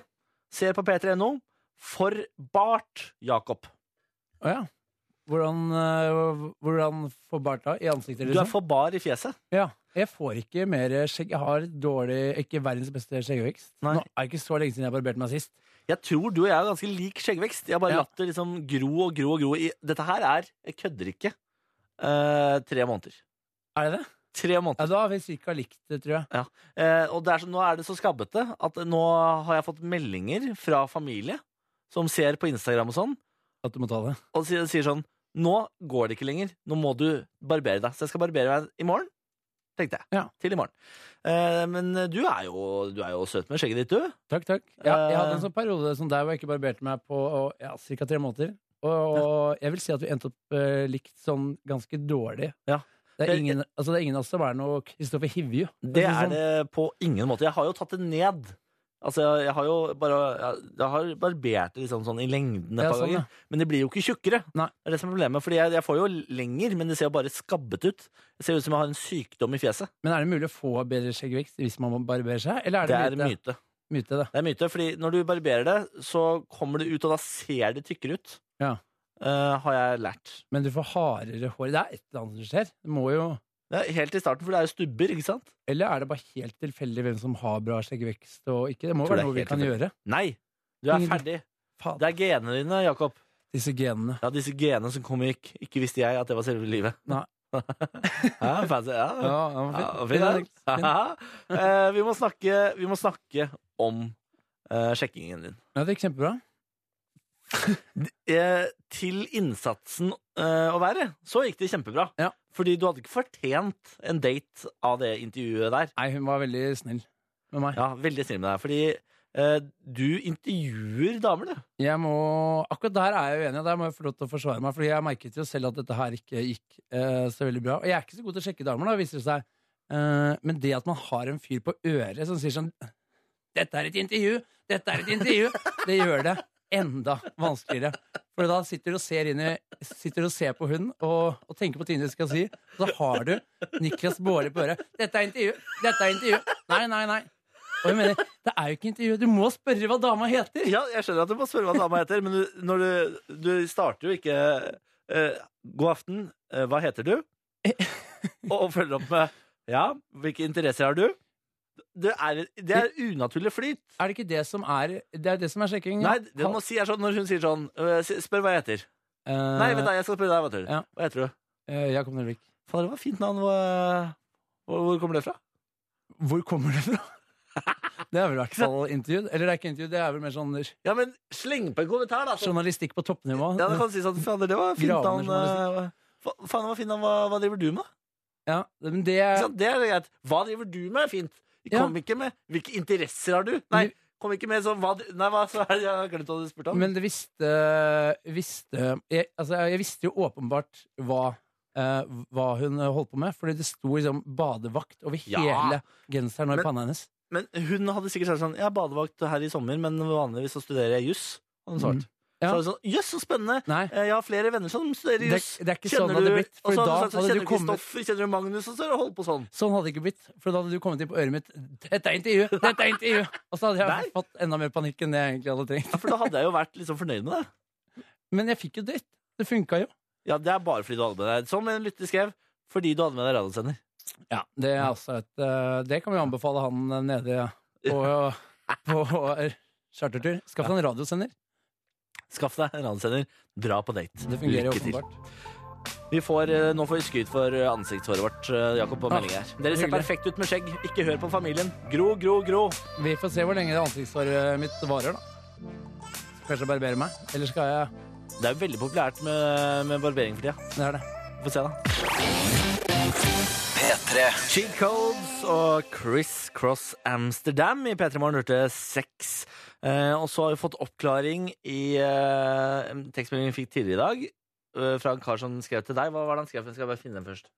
[SPEAKER 2] Ser på p3.no. For bart, Jakob.
[SPEAKER 4] Å ja. Hvordan, eh, hvordan får bart da? I ansiktet,
[SPEAKER 2] Du er
[SPEAKER 4] liksom?
[SPEAKER 2] for bar i fjeset.
[SPEAKER 4] Ja. Jeg får ikke mer skjegg. Jeg har dårlig, ikke verdens beste skjeggvekst.
[SPEAKER 2] Nei.
[SPEAKER 4] Nå er det ikke så lenge siden jeg barberte meg sist.
[SPEAKER 2] Jeg tror du og jeg har ganske lik skjeggvekst. Jeg har bare
[SPEAKER 4] Ja.
[SPEAKER 2] latt det liksom gro og gro og gro. i- Dette her er Jeg kødder ikke. eh, tre måneder.
[SPEAKER 4] Er det det?
[SPEAKER 2] Tre måneder.
[SPEAKER 4] Ja, da har vi cirka likt det, tror jeg.
[SPEAKER 2] Eh, og det er så, nå er det så skabbete at nå har jeg fått meldinger fra familie som ser på Instagram og sånn,
[SPEAKER 4] At du må ta det.
[SPEAKER 2] og sier, sier sånn Nå går det ikke lenger. Nå må du barbere deg. Så jeg skal barbere meg i morgen, tenkte jeg.
[SPEAKER 4] Ja.
[SPEAKER 2] Til i morgen. Eh, men du er, jo, du er jo søt med skjegget ditt, du.
[SPEAKER 4] Takk, takk. Ja, jeg hadde en sånn periode som der hvor jeg ikke barberte meg på og, ja, cirka tre måneder. Og, og jeg vil si at vi endte opp eh, likt sånn ganske dårlig.
[SPEAKER 2] Ja.
[SPEAKER 4] Det, er
[SPEAKER 2] Jeg-
[SPEAKER 4] ingen, altså, det er ingen av oss som er noe Kristoffer Hivju.
[SPEAKER 2] Det er det på ingen måte. Jeg har jo tatt det ned. Altså, jeg, jeg har jo bare jeg, jeg har barbert det liksom sånn i lengden et
[SPEAKER 4] Ja,
[SPEAKER 2] par
[SPEAKER 4] sånn, ja.
[SPEAKER 2] ganger. Men det blir jo ikke tjukkere.
[SPEAKER 4] Nei.
[SPEAKER 2] Det er det som er problemet. Fordi jeg, jeg får jo lenger, men det ser jo bare skabbet ut. Det ser ut som jeg har en sykdom i fjeset.
[SPEAKER 4] Men er det mulig å få bedre skjeggvekst hvis man barberer seg? Eller er
[SPEAKER 2] Det
[SPEAKER 4] det,
[SPEAKER 2] er
[SPEAKER 4] myte?
[SPEAKER 2] myte.
[SPEAKER 4] myte det.
[SPEAKER 2] Det er myte, fordi når du barberer det, så kommer det ut, og da ser det tykkere ut.
[SPEAKER 4] Ja.
[SPEAKER 2] Eh, har jeg lært.
[SPEAKER 4] Men du får hardere hår. Det er et eller annet som skjer. Det må jo...
[SPEAKER 2] Det er helt i starten, for det er jo stubber, ikke sant?
[SPEAKER 4] Eller er det bare helt tilfeldig hvem som har bra skjeggvekst og ikke? Det må
[SPEAKER 2] Tror det
[SPEAKER 4] være
[SPEAKER 2] er
[SPEAKER 4] noe vi
[SPEAKER 2] helt
[SPEAKER 4] kan gjøre.
[SPEAKER 2] Nei! Du er
[SPEAKER 4] Ingen-
[SPEAKER 2] ferdig.
[SPEAKER 4] Faen,
[SPEAKER 2] Det er genene dine, Jakob.
[SPEAKER 4] disse genene.
[SPEAKER 2] Ja, disse genene som kom og gikk. Ikke visste jeg at det var selve livet.
[SPEAKER 4] Nei.
[SPEAKER 2] ja, fancy. Ja.
[SPEAKER 4] Ja, det var
[SPEAKER 2] Ja,
[SPEAKER 4] fint.
[SPEAKER 2] fin,
[SPEAKER 4] Fint,
[SPEAKER 2] ja.
[SPEAKER 4] fint.
[SPEAKER 2] Eh, vi, må snakke, vi må snakke om eh, sjekkingen din.
[SPEAKER 4] Ja, det gikk kjempebra.
[SPEAKER 2] Eh, til innsatsen eh, å være, så gikk det kjempebra.
[SPEAKER 4] Ja.
[SPEAKER 2] Fordi du hadde ikke fortjent en date av det intervjuet der.
[SPEAKER 4] Nei, hun var veldig snill med meg.
[SPEAKER 2] Ja, veldig snill med deg, fordi eh, du intervjuer damer, du.
[SPEAKER 4] Jeg må, akkurat der er jeg uenig, og der må jeg få lov til å forsvare meg. Fordi jeg merket jo selv at dette her ikke gikk eh, så veldig bra. Og jeg er ikke så god til å sjekke damer, da, viser det seg. Eh, men det at man har en fyr på øret som sier sånn Dette er et intervju! Dette er et intervju! Det gjør det enda vanskeligere. For da sitter du og ser, inn i, sitter og ser på hun og, og tenker på ting du skal si. Og så har du Niklas Baarli på øret. Dette er intervju! Dette er intervju! Nei, nei, nei. Og jeg mener, det er jo ikke intervju. Du må spørre hva dama heter!
[SPEAKER 2] Ja, jeg skjønner at du må spørre hva dama heter, men du, når du, du starter jo ikke eh, God aften, eh, hva heter du? Og følger opp med Ja, hvilke interesser har du? Det er, det er unaturlig flyt.
[SPEAKER 4] Er det ikke det som er Det er det som er sjekking?
[SPEAKER 2] Nei, det du må si er sånn når hun sier sånn eh, s- Spør hva jeg heter. Nei, vent da, jeg skal spørre deg hva heter.
[SPEAKER 4] ja.
[SPEAKER 2] du? Hva heter du?
[SPEAKER 4] Eh, Jakob Nelvik.
[SPEAKER 2] Fader, det var fint navn. Hva- Hvor, hvor kommer det fra?
[SPEAKER 4] Hvor kommer det fra? Det er vel i hvert fall intervju. Eller det er ikke intervju, det er vel mer sånn
[SPEAKER 2] Ja, men sleng på en kommentar, da. Så
[SPEAKER 4] journalistikk på toppnivå.
[SPEAKER 2] Ja, det kan si sånn, fader, det var fint
[SPEAKER 4] Gravende
[SPEAKER 2] navn. eh, fa- Faen, det var fint navn. Hva, hva driver du med? da?
[SPEAKER 4] Ja, men det
[SPEAKER 2] Ikke sant? Det er greit. Hva driver du med? er Fint.
[SPEAKER 4] Eh. Ja. Mm.
[SPEAKER 2] Kom ikke med Hvilke interesser har du? Nei, kom ikke med sånn hva, dri- Nei, hva så er det jeg har glemt hva du spurte om?
[SPEAKER 4] Men det visste, visste jeg, altså, jeg visste jo åpenbart hva eh, hva hun holdt på med, fordi det sto liksom badevakt over
[SPEAKER 2] Ja.
[SPEAKER 4] hele genseren og
[SPEAKER 2] Men-
[SPEAKER 4] i panna hennes.
[SPEAKER 2] Men hun hadde sikkert sagt sånn Jeg er badevakt her i sommer, men vanligvis så studerer jeg juss. Hadde hun svart.
[SPEAKER 4] Mm.
[SPEAKER 2] Så
[SPEAKER 4] Ja.
[SPEAKER 2] hadde hun sånn Jøss, så spennende!
[SPEAKER 4] Nei,
[SPEAKER 2] Eh, Jeg har flere venner som studerer
[SPEAKER 4] det,
[SPEAKER 2] juss.
[SPEAKER 4] det er ikke sånn det hadde
[SPEAKER 2] du
[SPEAKER 4] blitt.
[SPEAKER 2] Og
[SPEAKER 4] For
[SPEAKER 2] så hadde hun sagt sånn,
[SPEAKER 4] da hadde
[SPEAKER 2] Kjenner
[SPEAKER 4] du
[SPEAKER 2] du
[SPEAKER 4] kommet
[SPEAKER 2] Kristoffer? Kjenner du Magnus? Og så har hun holdt på sånn.
[SPEAKER 4] Sånn hadde det ikke blitt, for da hadde du kommet inn på øret mitt Dette er intervju! Dette er intervju! Og så hadde jeg
[SPEAKER 2] Nei.
[SPEAKER 4] fått enda mer panikk enn det jeg egentlig hadde trengt.
[SPEAKER 2] Ja, For da hadde jeg jo vært liksom fornøyd med det.
[SPEAKER 4] Men jeg fikk jo dritt. Det funka jo.
[SPEAKER 2] Ja, det er bare fordi du hadde med deg Som en lytter skrev, fordi du hadde med deg radiosender.
[SPEAKER 4] Ja, Det er altså et eh, Det kan vi anbefale han eh, nede på, på eh, chartertur. Skaff deg en radiosender.
[SPEAKER 2] Skaff deg en radiosender, dra på date.
[SPEAKER 4] Det fungerer
[SPEAKER 2] Lykke til.
[SPEAKER 4] åpenbart.
[SPEAKER 2] Vi får, eh, nå får vi skryt for eh, ansiktshåret vårt, eh, Jakob, på
[SPEAKER 4] Ah,
[SPEAKER 2] meldingen her. Dere ser
[SPEAKER 4] hyggelig.
[SPEAKER 2] perfekt ut med skjegg. Ikke hør på familien. Gro, gro, gro.
[SPEAKER 4] Vi får se hvor lenge det ansiktshåret mitt varer, da. Skal Kanskje barbere meg. Eller skal jeg
[SPEAKER 2] Det er jo veldig populært med, med barbering for tida.
[SPEAKER 4] Det er det.
[SPEAKER 2] Få se, da.
[SPEAKER 1] P3.
[SPEAKER 2] Cheat Codes og Chris Cross Amsterdam i P3 Morgen hørte seks. Eh, og så har vi fått oppklaring i eh, en tekstmelding vi fikk tidligere i dag. eh, Fra en kar som skrev til deg. Hva var det han skrev? for? Jeg skal bare finne den først.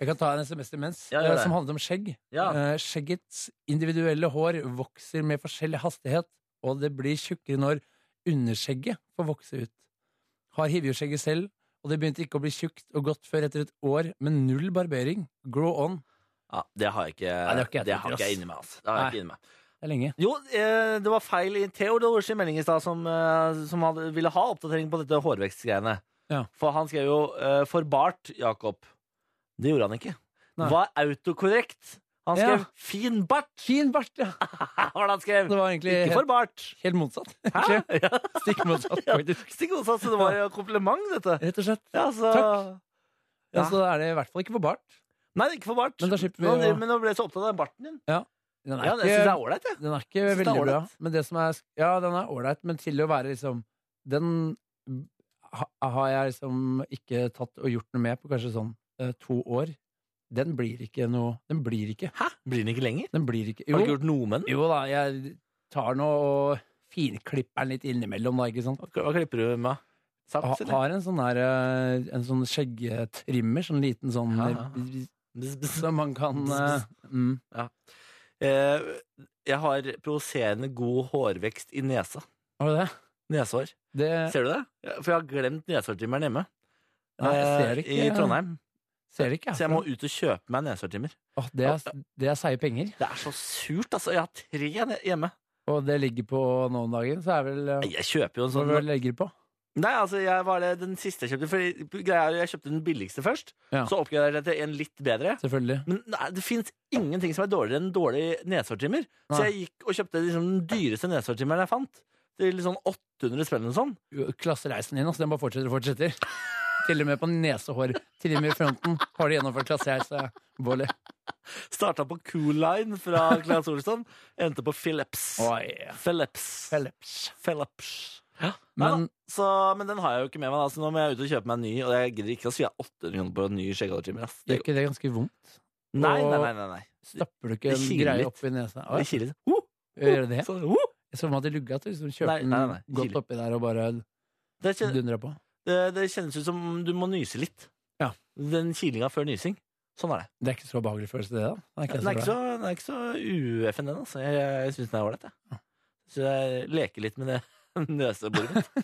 [SPEAKER 4] Jeg kan ta en SMS imens,
[SPEAKER 2] Ja, gjør
[SPEAKER 4] eh,
[SPEAKER 2] det.
[SPEAKER 4] som handlet om skjegg.
[SPEAKER 2] Ja.
[SPEAKER 4] Eh, Skjeggets individuelle hår vokser med forskjellig hastighet, og det blir tjukkere når underskjegget får vokse ut. Har hivjoskjegget selv, og det begynte ikke å bli tjukt og godt før etter et år med null barbering. Grow on.
[SPEAKER 2] Ja, det har jeg ikke,
[SPEAKER 4] det har ikke jeg
[SPEAKER 2] det
[SPEAKER 4] tid
[SPEAKER 2] har
[SPEAKER 4] til,
[SPEAKER 2] ikke jeg
[SPEAKER 4] ass.
[SPEAKER 2] inni meg. Altså. Det har
[SPEAKER 4] Nei.
[SPEAKER 2] jeg ikke inni meg.
[SPEAKER 4] Det er lenge.
[SPEAKER 2] Jo, eh, det var feil i Theodors melding i stad, som, eh, som hadde, ville ha oppdatering på dette hårvekstgreiene.
[SPEAKER 4] Ja.
[SPEAKER 2] For han skrev jo eh, 'forbart', Jakob. Det gjorde han ikke.
[SPEAKER 4] Nei.
[SPEAKER 2] Det var autokorrekt. Han
[SPEAKER 4] Ja.
[SPEAKER 2] skrev 'fin bart'.
[SPEAKER 4] Fin bart, ja!
[SPEAKER 2] Hva var det han skrev?
[SPEAKER 4] Det var egentlig
[SPEAKER 2] Ikke
[SPEAKER 4] helt,
[SPEAKER 2] forbart.
[SPEAKER 4] helt motsatt.
[SPEAKER 2] Hæ? Ja.
[SPEAKER 4] Stikk motsatt,
[SPEAKER 2] Ja.
[SPEAKER 4] faktisk.
[SPEAKER 2] Stikk motsatt, så det var jo kompliment, dette.
[SPEAKER 4] Rett og slett.
[SPEAKER 2] Ja, så...
[SPEAKER 4] Takk.
[SPEAKER 2] Ja.
[SPEAKER 4] Ja. Så er det i hvert fall ikke for bart.
[SPEAKER 2] Nei, ikke forbart.
[SPEAKER 4] Men da slipper vi
[SPEAKER 2] nå,
[SPEAKER 4] å-
[SPEAKER 2] men nå ble jeg så opptatt av barten din.
[SPEAKER 4] Den
[SPEAKER 2] Ja, jeg synes det er ålreit, jeg.
[SPEAKER 4] Den er ikke
[SPEAKER 2] Jeg synes det er
[SPEAKER 4] veldig bra.
[SPEAKER 2] ålreit.
[SPEAKER 4] Men det som er, ja, den er ålreit, men til å være liksom Den ha, har jeg liksom ikke tatt og gjort noe med på kanskje sånn eh, to år. Den blir ikke noe Den blir ikke.
[SPEAKER 2] Hæ? Blir den ikke lenger?
[SPEAKER 4] Den blir ikke
[SPEAKER 2] Har du ikke
[SPEAKER 4] Jo,
[SPEAKER 2] gjort noe med den?
[SPEAKER 4] jo da, jeg tar nå og finklipper den litt innimellom, da, ikke sant.
[SPEAKER 2] Hva hva klipper du med?
[SPEAKER 4] Ha,
[SPEAKER 2] Sats, eller?
[SPEAKER 4] har en sånn der eh, En sånn skjeggtrimmer, sånn liten sånn
[SPEAKER 2] Ja, ja.
[SPEAKER 4] eh, Som man kan eh, mm.
[SPEAKER 2] Eh, jeg har provoserende god hårvekst i nesa.
[SPEAKER 4] Har du det?
[SPEAKER 2] Nesehår.
[SPEAKER 4] det
[SPEAKER 2] Ser du det? Ja, For jeg har glemt nesehårtrimmeren hjemme.
[SPEAKER 4] Nei, jeg
[SPEAKER 2] eh,
[SPEAKER 4] ser det ikke.
[SPEAKER 2] I Trondheim.
[SPEAKER 4] ser ikke
[SPEAKER 2] Så jeg må ut og kjøpe meg nesehårtrimmer.
[SPEAKER 4] Åh, det, er, det er seige penger.
[SPEAKER 2] Det er så surt, altså. Jeg har tre ne- hjemme.
[SPEAKER 4] Og det ligger på nå om dagen, så er vel eh,
[SPEAKER 2] Nei, Jeg kjøper jo en
[SPEAKER 4] Hva
[SPEAKER 2] sånn
[SPEAKER 4] vil du legge det på?
[SPEAKER 2] Nei, altså, jeg var det den siste jeg kjøpte. Fordi greia er, Jeg kjøpte den billigste først.
[SPEAKER 4] Ja.
[SPEAKER 2] Så oppgraderte jeg til en litt bedre.
[SPEAKER 4] Selvfølgelig.
[SPEAKER 2] Men nei, det fins ingenting som er dårligere enn dårlig nesehårtrimmer. Så
[SPEAKER 4] Nei.
[SPEAKER 2] jeg gikk og kjøpte liksom den dyreste nesehårtrimmeren jeg fant. Til sånn 800 spenn eller noe sånt.
[SPEAKER 4] Klassereisen din, altså, den bare fortsetter og fortsetter. Til og med på nesehårtrimmerfronten har du gjennomført klassereise, Bolly.
[SPEAKER 2] Starta på Cool Line fra Claes Olsson. Endte på Philips. Philips.
[SPEAKER 4] Philips.
[SPEAKER 2] Philips.
[SPEAKER 4] Men
[SPEAKER 2] Neida. Så, men den har jeg jo ikke med meg, da, så nå må jeg ut og kjøpe meg en ny. Og jeg gidder ikke å svi 800 kroner på en ny skjeggholdertrimmer. ass.
[SPEAKER 4] gjør
[SPEAKER 2] Det-
[SPEAKER 4] ikke det ganske vondt?
[SPEAKER 2] Nei, nei, nei. nei, nei.
[SPEAKER 4] Stapper du
[SPEAKER 2] Det
[SPEAKER 4] ikke en
[SPEAKER 2] kiler
[SPEAKER 4] greie
[SPEAKER 2] litt.
[SPEAKER 4] oppi nesa? Å,
[SPEAKER 2] Det kiler litt. Oh,
[SPEAKER 4] Gjør det det?
[SPEAKER 2] sånn, oh.
[SPEAKER 4] Jeg så for meg at det lugga at du liksom
[SPEAKER 2] Nei,
[SPEAKER 4] kjøpte
[SPEAKER 2] nei, nei,
[SPEAKER 4] den godt
[SPEAKER 2] kiler.
[SPEAKER 4] oppi der og bare
[SPEAKER 2] Det, kjen,
[SPEAKER 4] dundra på.
[SPEAKER 2] det, det kjennes ut som du må nyse litt.
[SPEAKER 4] Ja.
[SPEAKER 2] Den kilinga før nysing. Sånn er det.
[SPEAKER 4] Det er ikke så behagelig følelse, det, da? Det er ikke
[SPEAKER 2] Den
[SPEAKER 4] så
[SPEAKER 2] er ikke
[SPEAKER 4] bra.
[SPEAKER 2] så, den er ikke så UFN, den. Altså. Jeg, jeg syns den er ålreit. jeg. Så jeg leker litt med det neseboret mitt.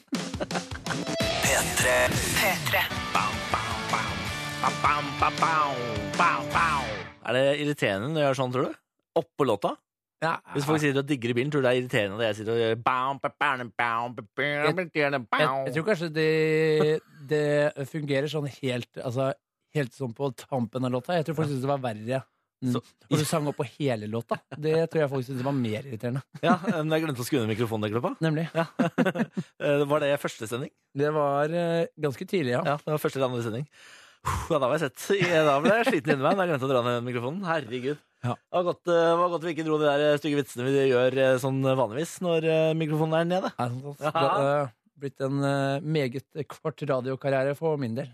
[SPEAKER 11] P3.
[SPEAKER 2] Bam, bam, bam, bam, bam, bam. Er det irriterende når jeg gjør sånn, tror du? Oppå låta?
[SPEAKER 4] Ja,
[SPEAKER 2] Hvis folk sier at digger i bilen, tror du det er irriterende at jeg sitter og gjør bam, bam, bam, bam, bam, bam, bam,
[SPEAKER 4] jeg,
[SPEAKER 2] bam.
[SPEAKER 4] jeg tror kanskje det, det fungerer sånn helt Altså helt sånn på tampen av låta. Jeg tror folk syntes det var verre. Mm.
[SPEAKER 2] Så-
[SPEAKER 4] Når du sang opp på hele låta. Det tror jeg folk syntes var mer irriterende.
[SPEAKER 2] Ja, men jeg glemte å skru ned mikrofonen. Jeg, klappa.
[SPEAKER 4] Nemlig.
[SPEAKER 2] Eh, Var det første sending?
[SPEAKER 4] Det var eh, ganske tidlig, ja.
[SPEAKER 2] Ja, det var første eller andre sending. Puh, Ja, da var jeg sett. Ja, Da ble jeg sliten inni meg. da Jeg glemte å dra ned mikrofonen. Herregud.
[SPEAKER 4] Ja.
[SPEAKER 2] Det var godt, eh, det var godt vi ikke dro de der eh, stygge vitsene vi gjør eh, sånn vanligvis når eh, mikrofonen er nede.
[SPEAKER 4] Nei, sånn,
[SPEAKER 2] Ja.
[SPEAKER 4] sånn, det hadde blitt en eh, meget kvart radiokarriere for min del.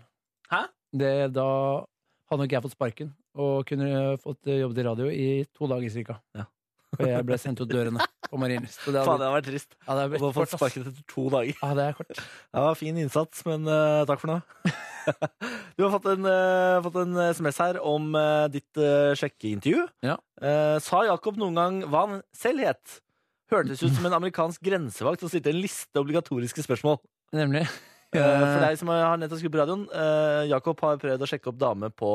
[SPEAKER 2] Hæ?
[SPEAKER 4] Det, da hadde nok jeg fått sparken og kunne eh, fått eh, jobbet i radio i to dager cirka.
[SPEAKER 2] Ja.
[SPEAKER 4] Og jeg ble sendt ut dørene på Marienlyst. så Det
[SPEAKER 2] Faen,
[SPEAKER 4] hadde,
[SPEAKER 2] det hadde vært trist.
[SPEAKER 4] ja, det
[SPEAKER 2] Og
[SPEAKER 4] hadde
[SPEAKER 2] du
[SPEAKER 4] blitt
[SPEAKER 2] har fått
[SPEAKER 4] kort, ass.
[SPEAKER 2] sparken etter to dager.
[SPEAKER 4] Ja, det er kort.
[SPEAKER 2] Det var fin innsats, men eh, takk for nå. du har fått en, eh, fått en SMS her om eh, ditt eh, sjekkeintervju.
[SPEAKER 4] Ja.
[SPEAKER 2] Eh, sa Jakob noen gang hva han selv het? Hørtes ut som en amerikansk grensevakt som stilte en liste obligatoriske spørsmål.
[SPEAKER 4] Nemlig.
[SPEAKER 2] Eh, for deg som har nettopp skrudd på radioen, eh, Jakob har prøvd å sjekke opp dame på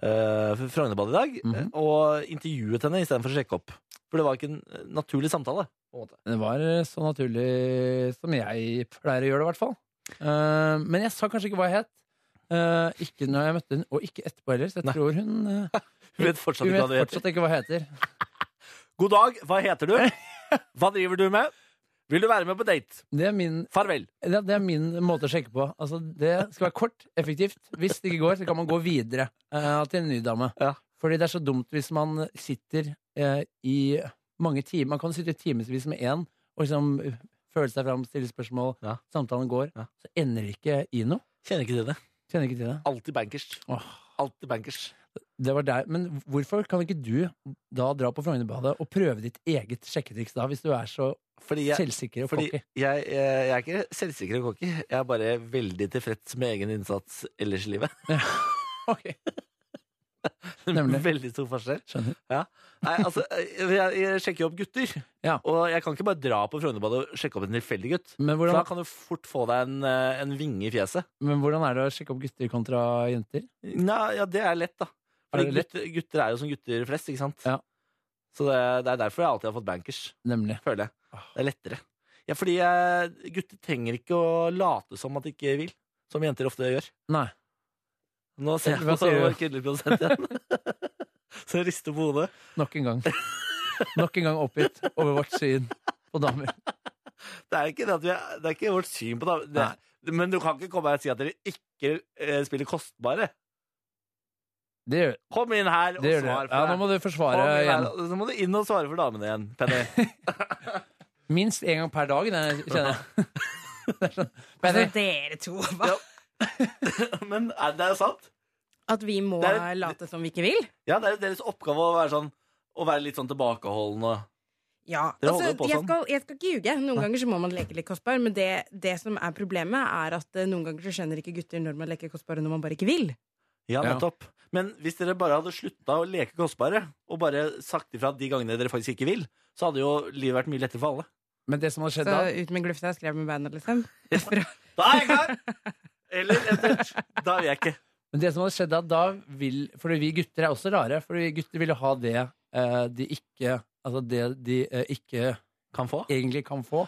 [SPEAKER 2] eh, Frognerbadet i dag,
[SPEAKER 4] Mhm.
[SPEAKER 2] eh, og intervjuet henne istedenfor å sjekke opp. For det var ikke en eh, naturlig samtale. på en måte.
[SPEAKER 4] Det var eh, så naturlig som jeg pleier å gjøre det, i hvert fall. Eh, men jeg sa kanskje ikke hva jeg het. Eh, ikke når jeg møtte henne, og ikke etterpå heller. Så jeg
[SPEAKER 2] Nei.
[SPEAKER 4] tror hun eh,
[SPEAKER 2] Hun vet fortsatt
[SPEAKER 4] Hun
[SPEAKER 2] ikke hva
[SPEAKER 4] vet
[SPEAKER 2] du heter.
[SPEAKER 4] fortsatt ikke hva jeg heter.
[SPEAKER 2] God dag, hva heter du? Hva driver du med? Vil du være med på date?
[SPEAKER 4] Det er min
[SPEAKER 2] Farvel.
[SPEAKER 4] Det, det er min måte å sjekke på. Altså, det skal være kort, effektivt. Hvis det ikke går, så kan man gå videre eh, til en ny dame.
[SPEAKER 2] Ja.
[SPEAKER 4] Fordi det er så dumt hvis man sitter eh, i mange timer Man kan sitte i timevis med én og liksom føle seg fram, stille spørsmål,
[SPEAKER 2] Ja.
[SPEAKER 4] samtalen går,
[SPEAKER 2] Ja.
[SPEAKER 4] så ender det ikke i noe.
[SPEAKER 2] Kjenner ikke til det.
[SPEAKER 4] Kjenner ikke til det.
[SPEAKER 2] Alltid bankers.
[SPEAKER 4] Åh,
[SPEAKER 2] Alltid bankers.
[SPEAKER 4] det var der. Men hvorfor kan ikke du da dra på Frognerbadet og prøve ditt eget sjekketriks da, hvis du er så
[SPEAKER 2] Fordi jeg,
[SPEAKER 4] selvsikker og
[SPEAKER 2] fordi
[SPEAKER 4] cocky?
[SPEAKER 2] jeg, jeg, eh, jeg er ikke selvsikker og cocky. Jeg er bare veldig tilfreds med egen innsats ellers i livet.
[SPEAKER 4] Ok, Nemlig.
[SPEAKER 2] Veldig stor forskjell.
[SPEAKER 4] skjønner.
[SPEAKER 2] Nei, altså, jeg, jeg sjekker jo opp gutter.
[SPEAKER 4] Ja.
[SPEAKER 2] Og jeg kan ikke bare dra på Frognerbadet og sjekke opp en tilfeldig gutt.
[SPEAKER 4] Men
[SPEAKER 2] For
[SPEAKER 4] hvordan,
[SPEAKER 2] da kan du fort få deg en, eh, en vinge i fjeset.
[SPEAKER 4] Men hvordan er det å sjekke opp gutter kontra jenter?
[SPEAKER 2] Nei, ja, det er lett, da.
[SPEAKER 4] Er
[SPEAKER 2] Fordi
[SPEAKER 4] det lett?
[SPEAKER 2] gutter, gutter er jo som gutter flest, ikke sant?
[SPEAKER 4] Ja.
[SPEAKER 2] Så det, det er derfor jeg alltid har fått bankers,
[SPEAKER 4] Nemlig.
[SPEAKER 2] føler jeg.
[SPEAKER 4] Ah.
[SPEAKER 2] Det er lettere. Ja, fordi eh, gutter trenger ikke å late som at de ikke vil, som jenter ofte gjør.
[SPEAKER 4] Nei.
[SPEAKER 2] Nå ser jeg
[SPEAKER 4] Hva
[SPEAKER 2] på
[SPEAKER 4] sier du?
[SPEAKER 2] vår kvinnelige produsent igjen. Så jeg rister på hodet.
[SPEAKER 4] Nok en gang. Nok en gang oppgitt over vårt syn på damer.
[SPEAKER 2] Det er ikke, det at vi er, det er ikke vårt syn på det. det. Men du kan ikke komme her og si at dere ikke eh, spiller kostbare.
[SPEAKER 4] Det gjør
[SPEAKER 2] Kom inn her og
[SPEAKER 4] det. Gjør det.
[SPEAKER 2] svar for
[SPEAKER 4] Ja, nå
[SPEAKER 2] deg.
[SPEAKER 4] må du
[SPEAKER 2] Kom
[SPEAKER 4] forsvare
[SPEAKER 2] inn her,
[SPEAKER 4] igjen.
[SPEAKER 2] og Så må du inn og svare for damene igjen, Penny.
[SPEAKER 4] Minst én gang per dag, det kjenner jeg. Det er sånn. Men det-
[SPEAKER 12] dere to, hva?
[SPEAKER 2] Men er det er jo sant.
[SPEAKER 12] At vi må
[SPEAKER 2] Det er-
[SPEAKER 12] late som vi ikke vil?
[SPEAKER 2] Ja, det er jo deres oppgave å være sånn Å være litt sånn tilbakeholden og
[SPEAKER 12] Ja.
[SPEAKER 2] Dere
[SPEAKER 12] Altså,
[SPEAKER 2] holder på
[SPEAKER 12] jeg,
[SPEAKER 2] sånn.
[SPEAKER 12] skal, jeg skal ikke ljuge. Noen ganger så må man leke litt kostbar, men det, det som er problemet, er at eh, noen ganger så skjønner ikke gutter når man leker kostbar, og når man bare ikke vil.
[SPEAKER 2] Ja,
[SPEAKER 4] Ja.
[SPEAKER 2] nettopp. Men hvis dere bare hadde slutta å leke kostbare, og bare sagt ifra de gangene dere faktisk ikke vil, så hadde jo livet vært mye lettere for alle.
[SPEAKER 4] Men det som har skjedd
[SPEAKER 12] så
[SPEAKER 4] da
[SPEAKER 12] ut med glufta, skrev med bandet, liksom. Fra-
[SPEAKER 2] Da er jeg klar! Eller etter. Da vil jeg ikke.
[SPEAKER 4] Men det som hadde skjedd da, da vil Fordi vi gutter er også rare. Fordi vi gutter ville ha det eh, de ikke Altså det de eh, ikke
[SPEAKER 2] Kan få.
[SPEAKER 4] egentlig kan få.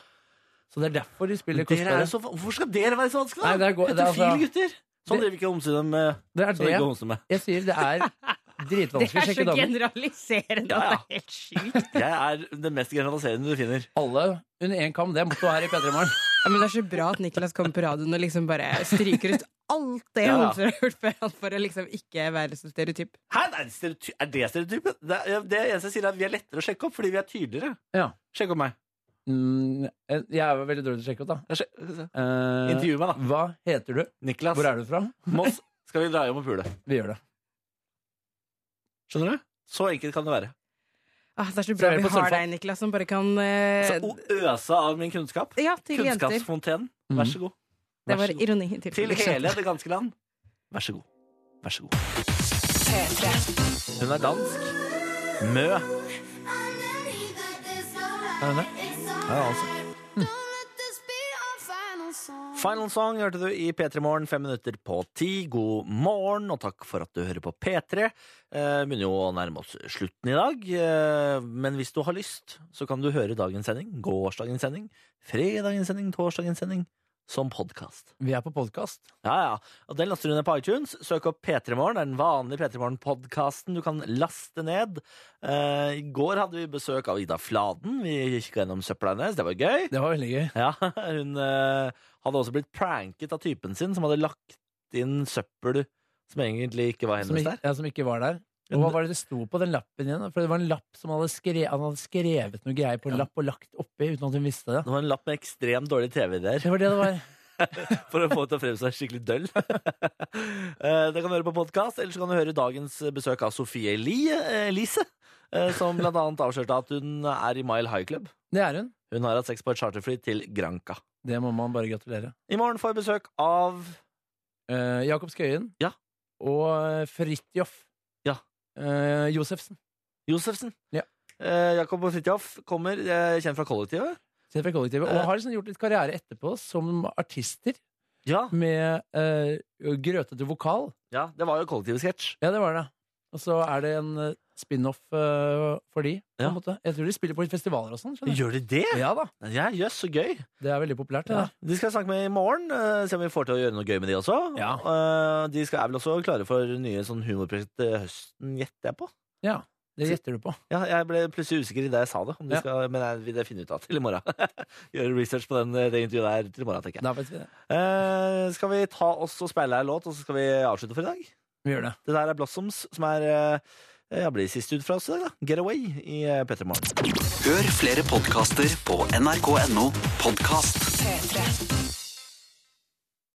[SPEAKER 4] Så det er derfor de spiller
[SPEAKER 2] Dere er
[SPEAKER 4] kostbare.
[SPEAKER 2] jo så, hvorfor skal dere være så vanskelig, da?
[SPEAKER 4] Nei, det er go- det er
[SPEAKER 2] Heterofile
[SPEAKER 4] altså-
[SPEAKER 2] gutter! Sånn
[SPEAKER 4] Det-
[SPEAKER 2] driver vi ikke å homse dem med.
[SPEAKER 4] Det
[SPEAKER 2] Sånn
[SPEAKER 4] er
[SPEAKER 2] driver vi
[SPEAKER 4] det
[SPEAKER 2] ikke å homse med.
[SPEAKER 4] jeg sier. Det er
[SPEAKER 12] Det
[SPEAKER 4] dritvanskelig å
[SPEAKER 12] er så
[SPEAKER 4] sjekke damer.
[SPEAKER 12] generaliserende
[SPEAKER 2] Ja, ja.
[SPEAKER 12] at det er helt sjukt.
[SPEAKER 2] Jeg er den mest generaliserende du finner.
[SPEAKER 4] Alle under én kam. Det er mottoet her i P3 Morgen.
[SPEAKER 12] Ja, men det er så bra at Niklas kommer på radioen og liksom bare stryker ut alt det
[SPEAKER 2] Ja, ja.
[SPEAKER 12] homser har gjort før han for å liksom ikke være så stereotyp.
[SPEAKER 2] Hæ, nei, stereoty er det stereotypen? Det, er- det eneste jeg sier, er at vi er lettere å sjekke opp fordi vi er tydeligere.
[SPEAKER 4] Ja.
[SPEAKER 2] Sjekk opp meg.
[SPEAKER 4] Mm, eh, jeg er jo veldig dårlig til å sjekke ut, da.
[SPEAKER 2] Jeg sjek-
[SPEAKER 4] Eh,
[SPEAKER 2] Intervju meg, da.
[SPEAKER 4] Hva heter du?
[SPEAKER 2] Niklas.
[SPEAKER 4] Hvor er du fra?
[SPEAKER 2] Moss skal vi dra hjem og pule.
[SPEAKER 4] Vi gjør det.
[SPEAKER 2] Skjønner du? Så enkelt kan det være.
[SPEAKER 12] Ah, det er så
[SPEAKER 4] Så
[SPEAKER 12] bra
[SPEAKER 4] er det
[SPEAKER 12] vi
[SPEAKER 4] på
[SPEAKER 12] har
[SPEAKER 4] Sørfold.
[SPEAKER 12] deg, Niklas, som bare kan eh,
[SPEAKER 2] Så o- øsa av min kunnskap.
[SPEAKER 12] Ja, til jenter.
[SPEAKER 2] Kunnskapsfontenen. Vær så god.
[SPEAKER 12] Det
[SPEAKER 2] Vær
[SPEAKER 12] var
[SPEAKER 2] så god.
[SPEAKER 12] ironi. i
[SPEAKER 2] Til
[SPEAKER 12] tilfelle.
[SPEAKER 2] hele det ganske land. Vær så god. Vær så god. Hun er dansk. Mø.
[SPEAKER 4] Er det det?
[SPEAKER 2] Ja, altså. Final Song hørte du i P3 Morgen, fem minutter på ti. God morgen, og takk for at du hører på P3. Eh, begynner jo å nærme oss slutten i dag, eh, men hvis du har lyst, så kan du høre dagens sending, gårsdagens sending, fredagens sending, torsdagens sending, som podkast.
[SPEAKER 4] Vi er på podkast.
[SPEAKER 2] Ja, ja. Og den laster du ned på iTunes. Søk opp P3 Morgen. Det er den vanlige P3 Morgen-podkasten du kan laste ned. Eh, I går hadde vi besøk av Ida Fladen. Vi kikka gjennom søpla hennes. Det var gøy.
[SPEAKER 4] Det var veldig gøy.
[SPEAKER 2] Ja, hun eh, hadde også blitt pranket av typen sin, som hadde lagt inn søppel som egentlig ikke var
[SPEAKER 4] Som,
[SPEAKER 2] hennes
[SPEAKER 4] ikke-
[SPEAKER 2] der.
[SPEAKER 4] ja, som ikke var der. Og hva var det det sto på den lappen igjen? da? For det var en lapp som hadde skrevet, Han hadde skrevet noe greier på en lapp og lagt oppi uten at hun visste det.
[SPEAKER 2] Det var en lapp med ekstremt dårlige TV-ideer
[SPEAKER 4] Det var det det var.
[SPEAKER 2] for å få det til å fremstå skikkelig døll. Eh, det kan du høre på podkast, eller så kan du høre dagens besøk av Sofie Elie, eh, Elise, eh, som blant annet avslørte at hun er i Mile High Club.
[SPEAKER 4] Det er hun.
[SPEAKER 2] Hun har hatt sex på et charterfly til Granca.
[SPEAKER 4] Det må man bare gratulere.
[SPEAKER 2] I morgen får jeg besøk av
[SPEAKER 4] Eh, Jakob Skøyen
[SPEAKER 2] Ja.
[SPEAKER 4] og eh, Fridtjof
[SPEAKER 2] Ja.
[SPEAKER 4] Eh, Josefsen.
[SPEAKER 2] Josefsen.
[SPEAKER 4] Ja.
[SPEAKER 2] Eh, Jakob og Fridtjof kommer, eh, kjent fra kollektivet.
[SPEAKER 4] Kjent fra kollektivet.
[SPEAKER 2] Eh.
[SPEAKER 4] Og har liksom gjort litt karriere etterpå som artister
[SPEAKER 2] Ja,
[SPEAKER 4] med eh, grøtete vokal.
[SPEAKER 2] ja det var jo kollektivsketsj.
[SPEAKER 4] Ja, det var det. Og så er det en eh, spin-off eh, for de. På
[SPEAKER 2] Ja.
[SPEAKER 4] en måte. Jeg tror de spiller på litt festivaler og sånn. skjønner du?
[SPEAKER 2] Gjør de det?
[SPEAKER 4] Ja da.
[SPEAKER 2] Ja, jøss, så gøy.
[SPEAKER 4] Det er veldig populært.
[SPEAKER 2] Ja.
[SPEAKER 4] Det,
[SPEAKER 2] De skal jeg snakke med i morgen, eh, se om vi får til å gjøre noe gøy med de også. Eh, De skal, er vel også klare for nye sånn humorprosjekt til høsten, gjetter jeg på.
[SPEAKER 4] da. det gjetter du på.
[SPEAKER 2] Ja, jeg ble plutselig usikker i det jeg sa det, om de
[SPEAKER 4] Ja.
[SPEAKER 2] skal, men jeg vil det finne ut av til i morgen. Gjøre research på den, eh, det intervjuet der til i morgen, tenker jeg.
[SPEAKER 4] Da vet vi det.
[SPEAKER 2] Eh, skal vi ta oss og speile ei låt, og så skal vi avslutte for i dag?
[SPEAKER 4] Vi gjør det.
[SPEAKER 2] Det der er Blossoms, som er eh, ja, blir sist ut fra oss i dag, da. Get Away i eh, P3 Morgen.
[SPEAKER 1] Hør flere podkaster på nrk.no podkast.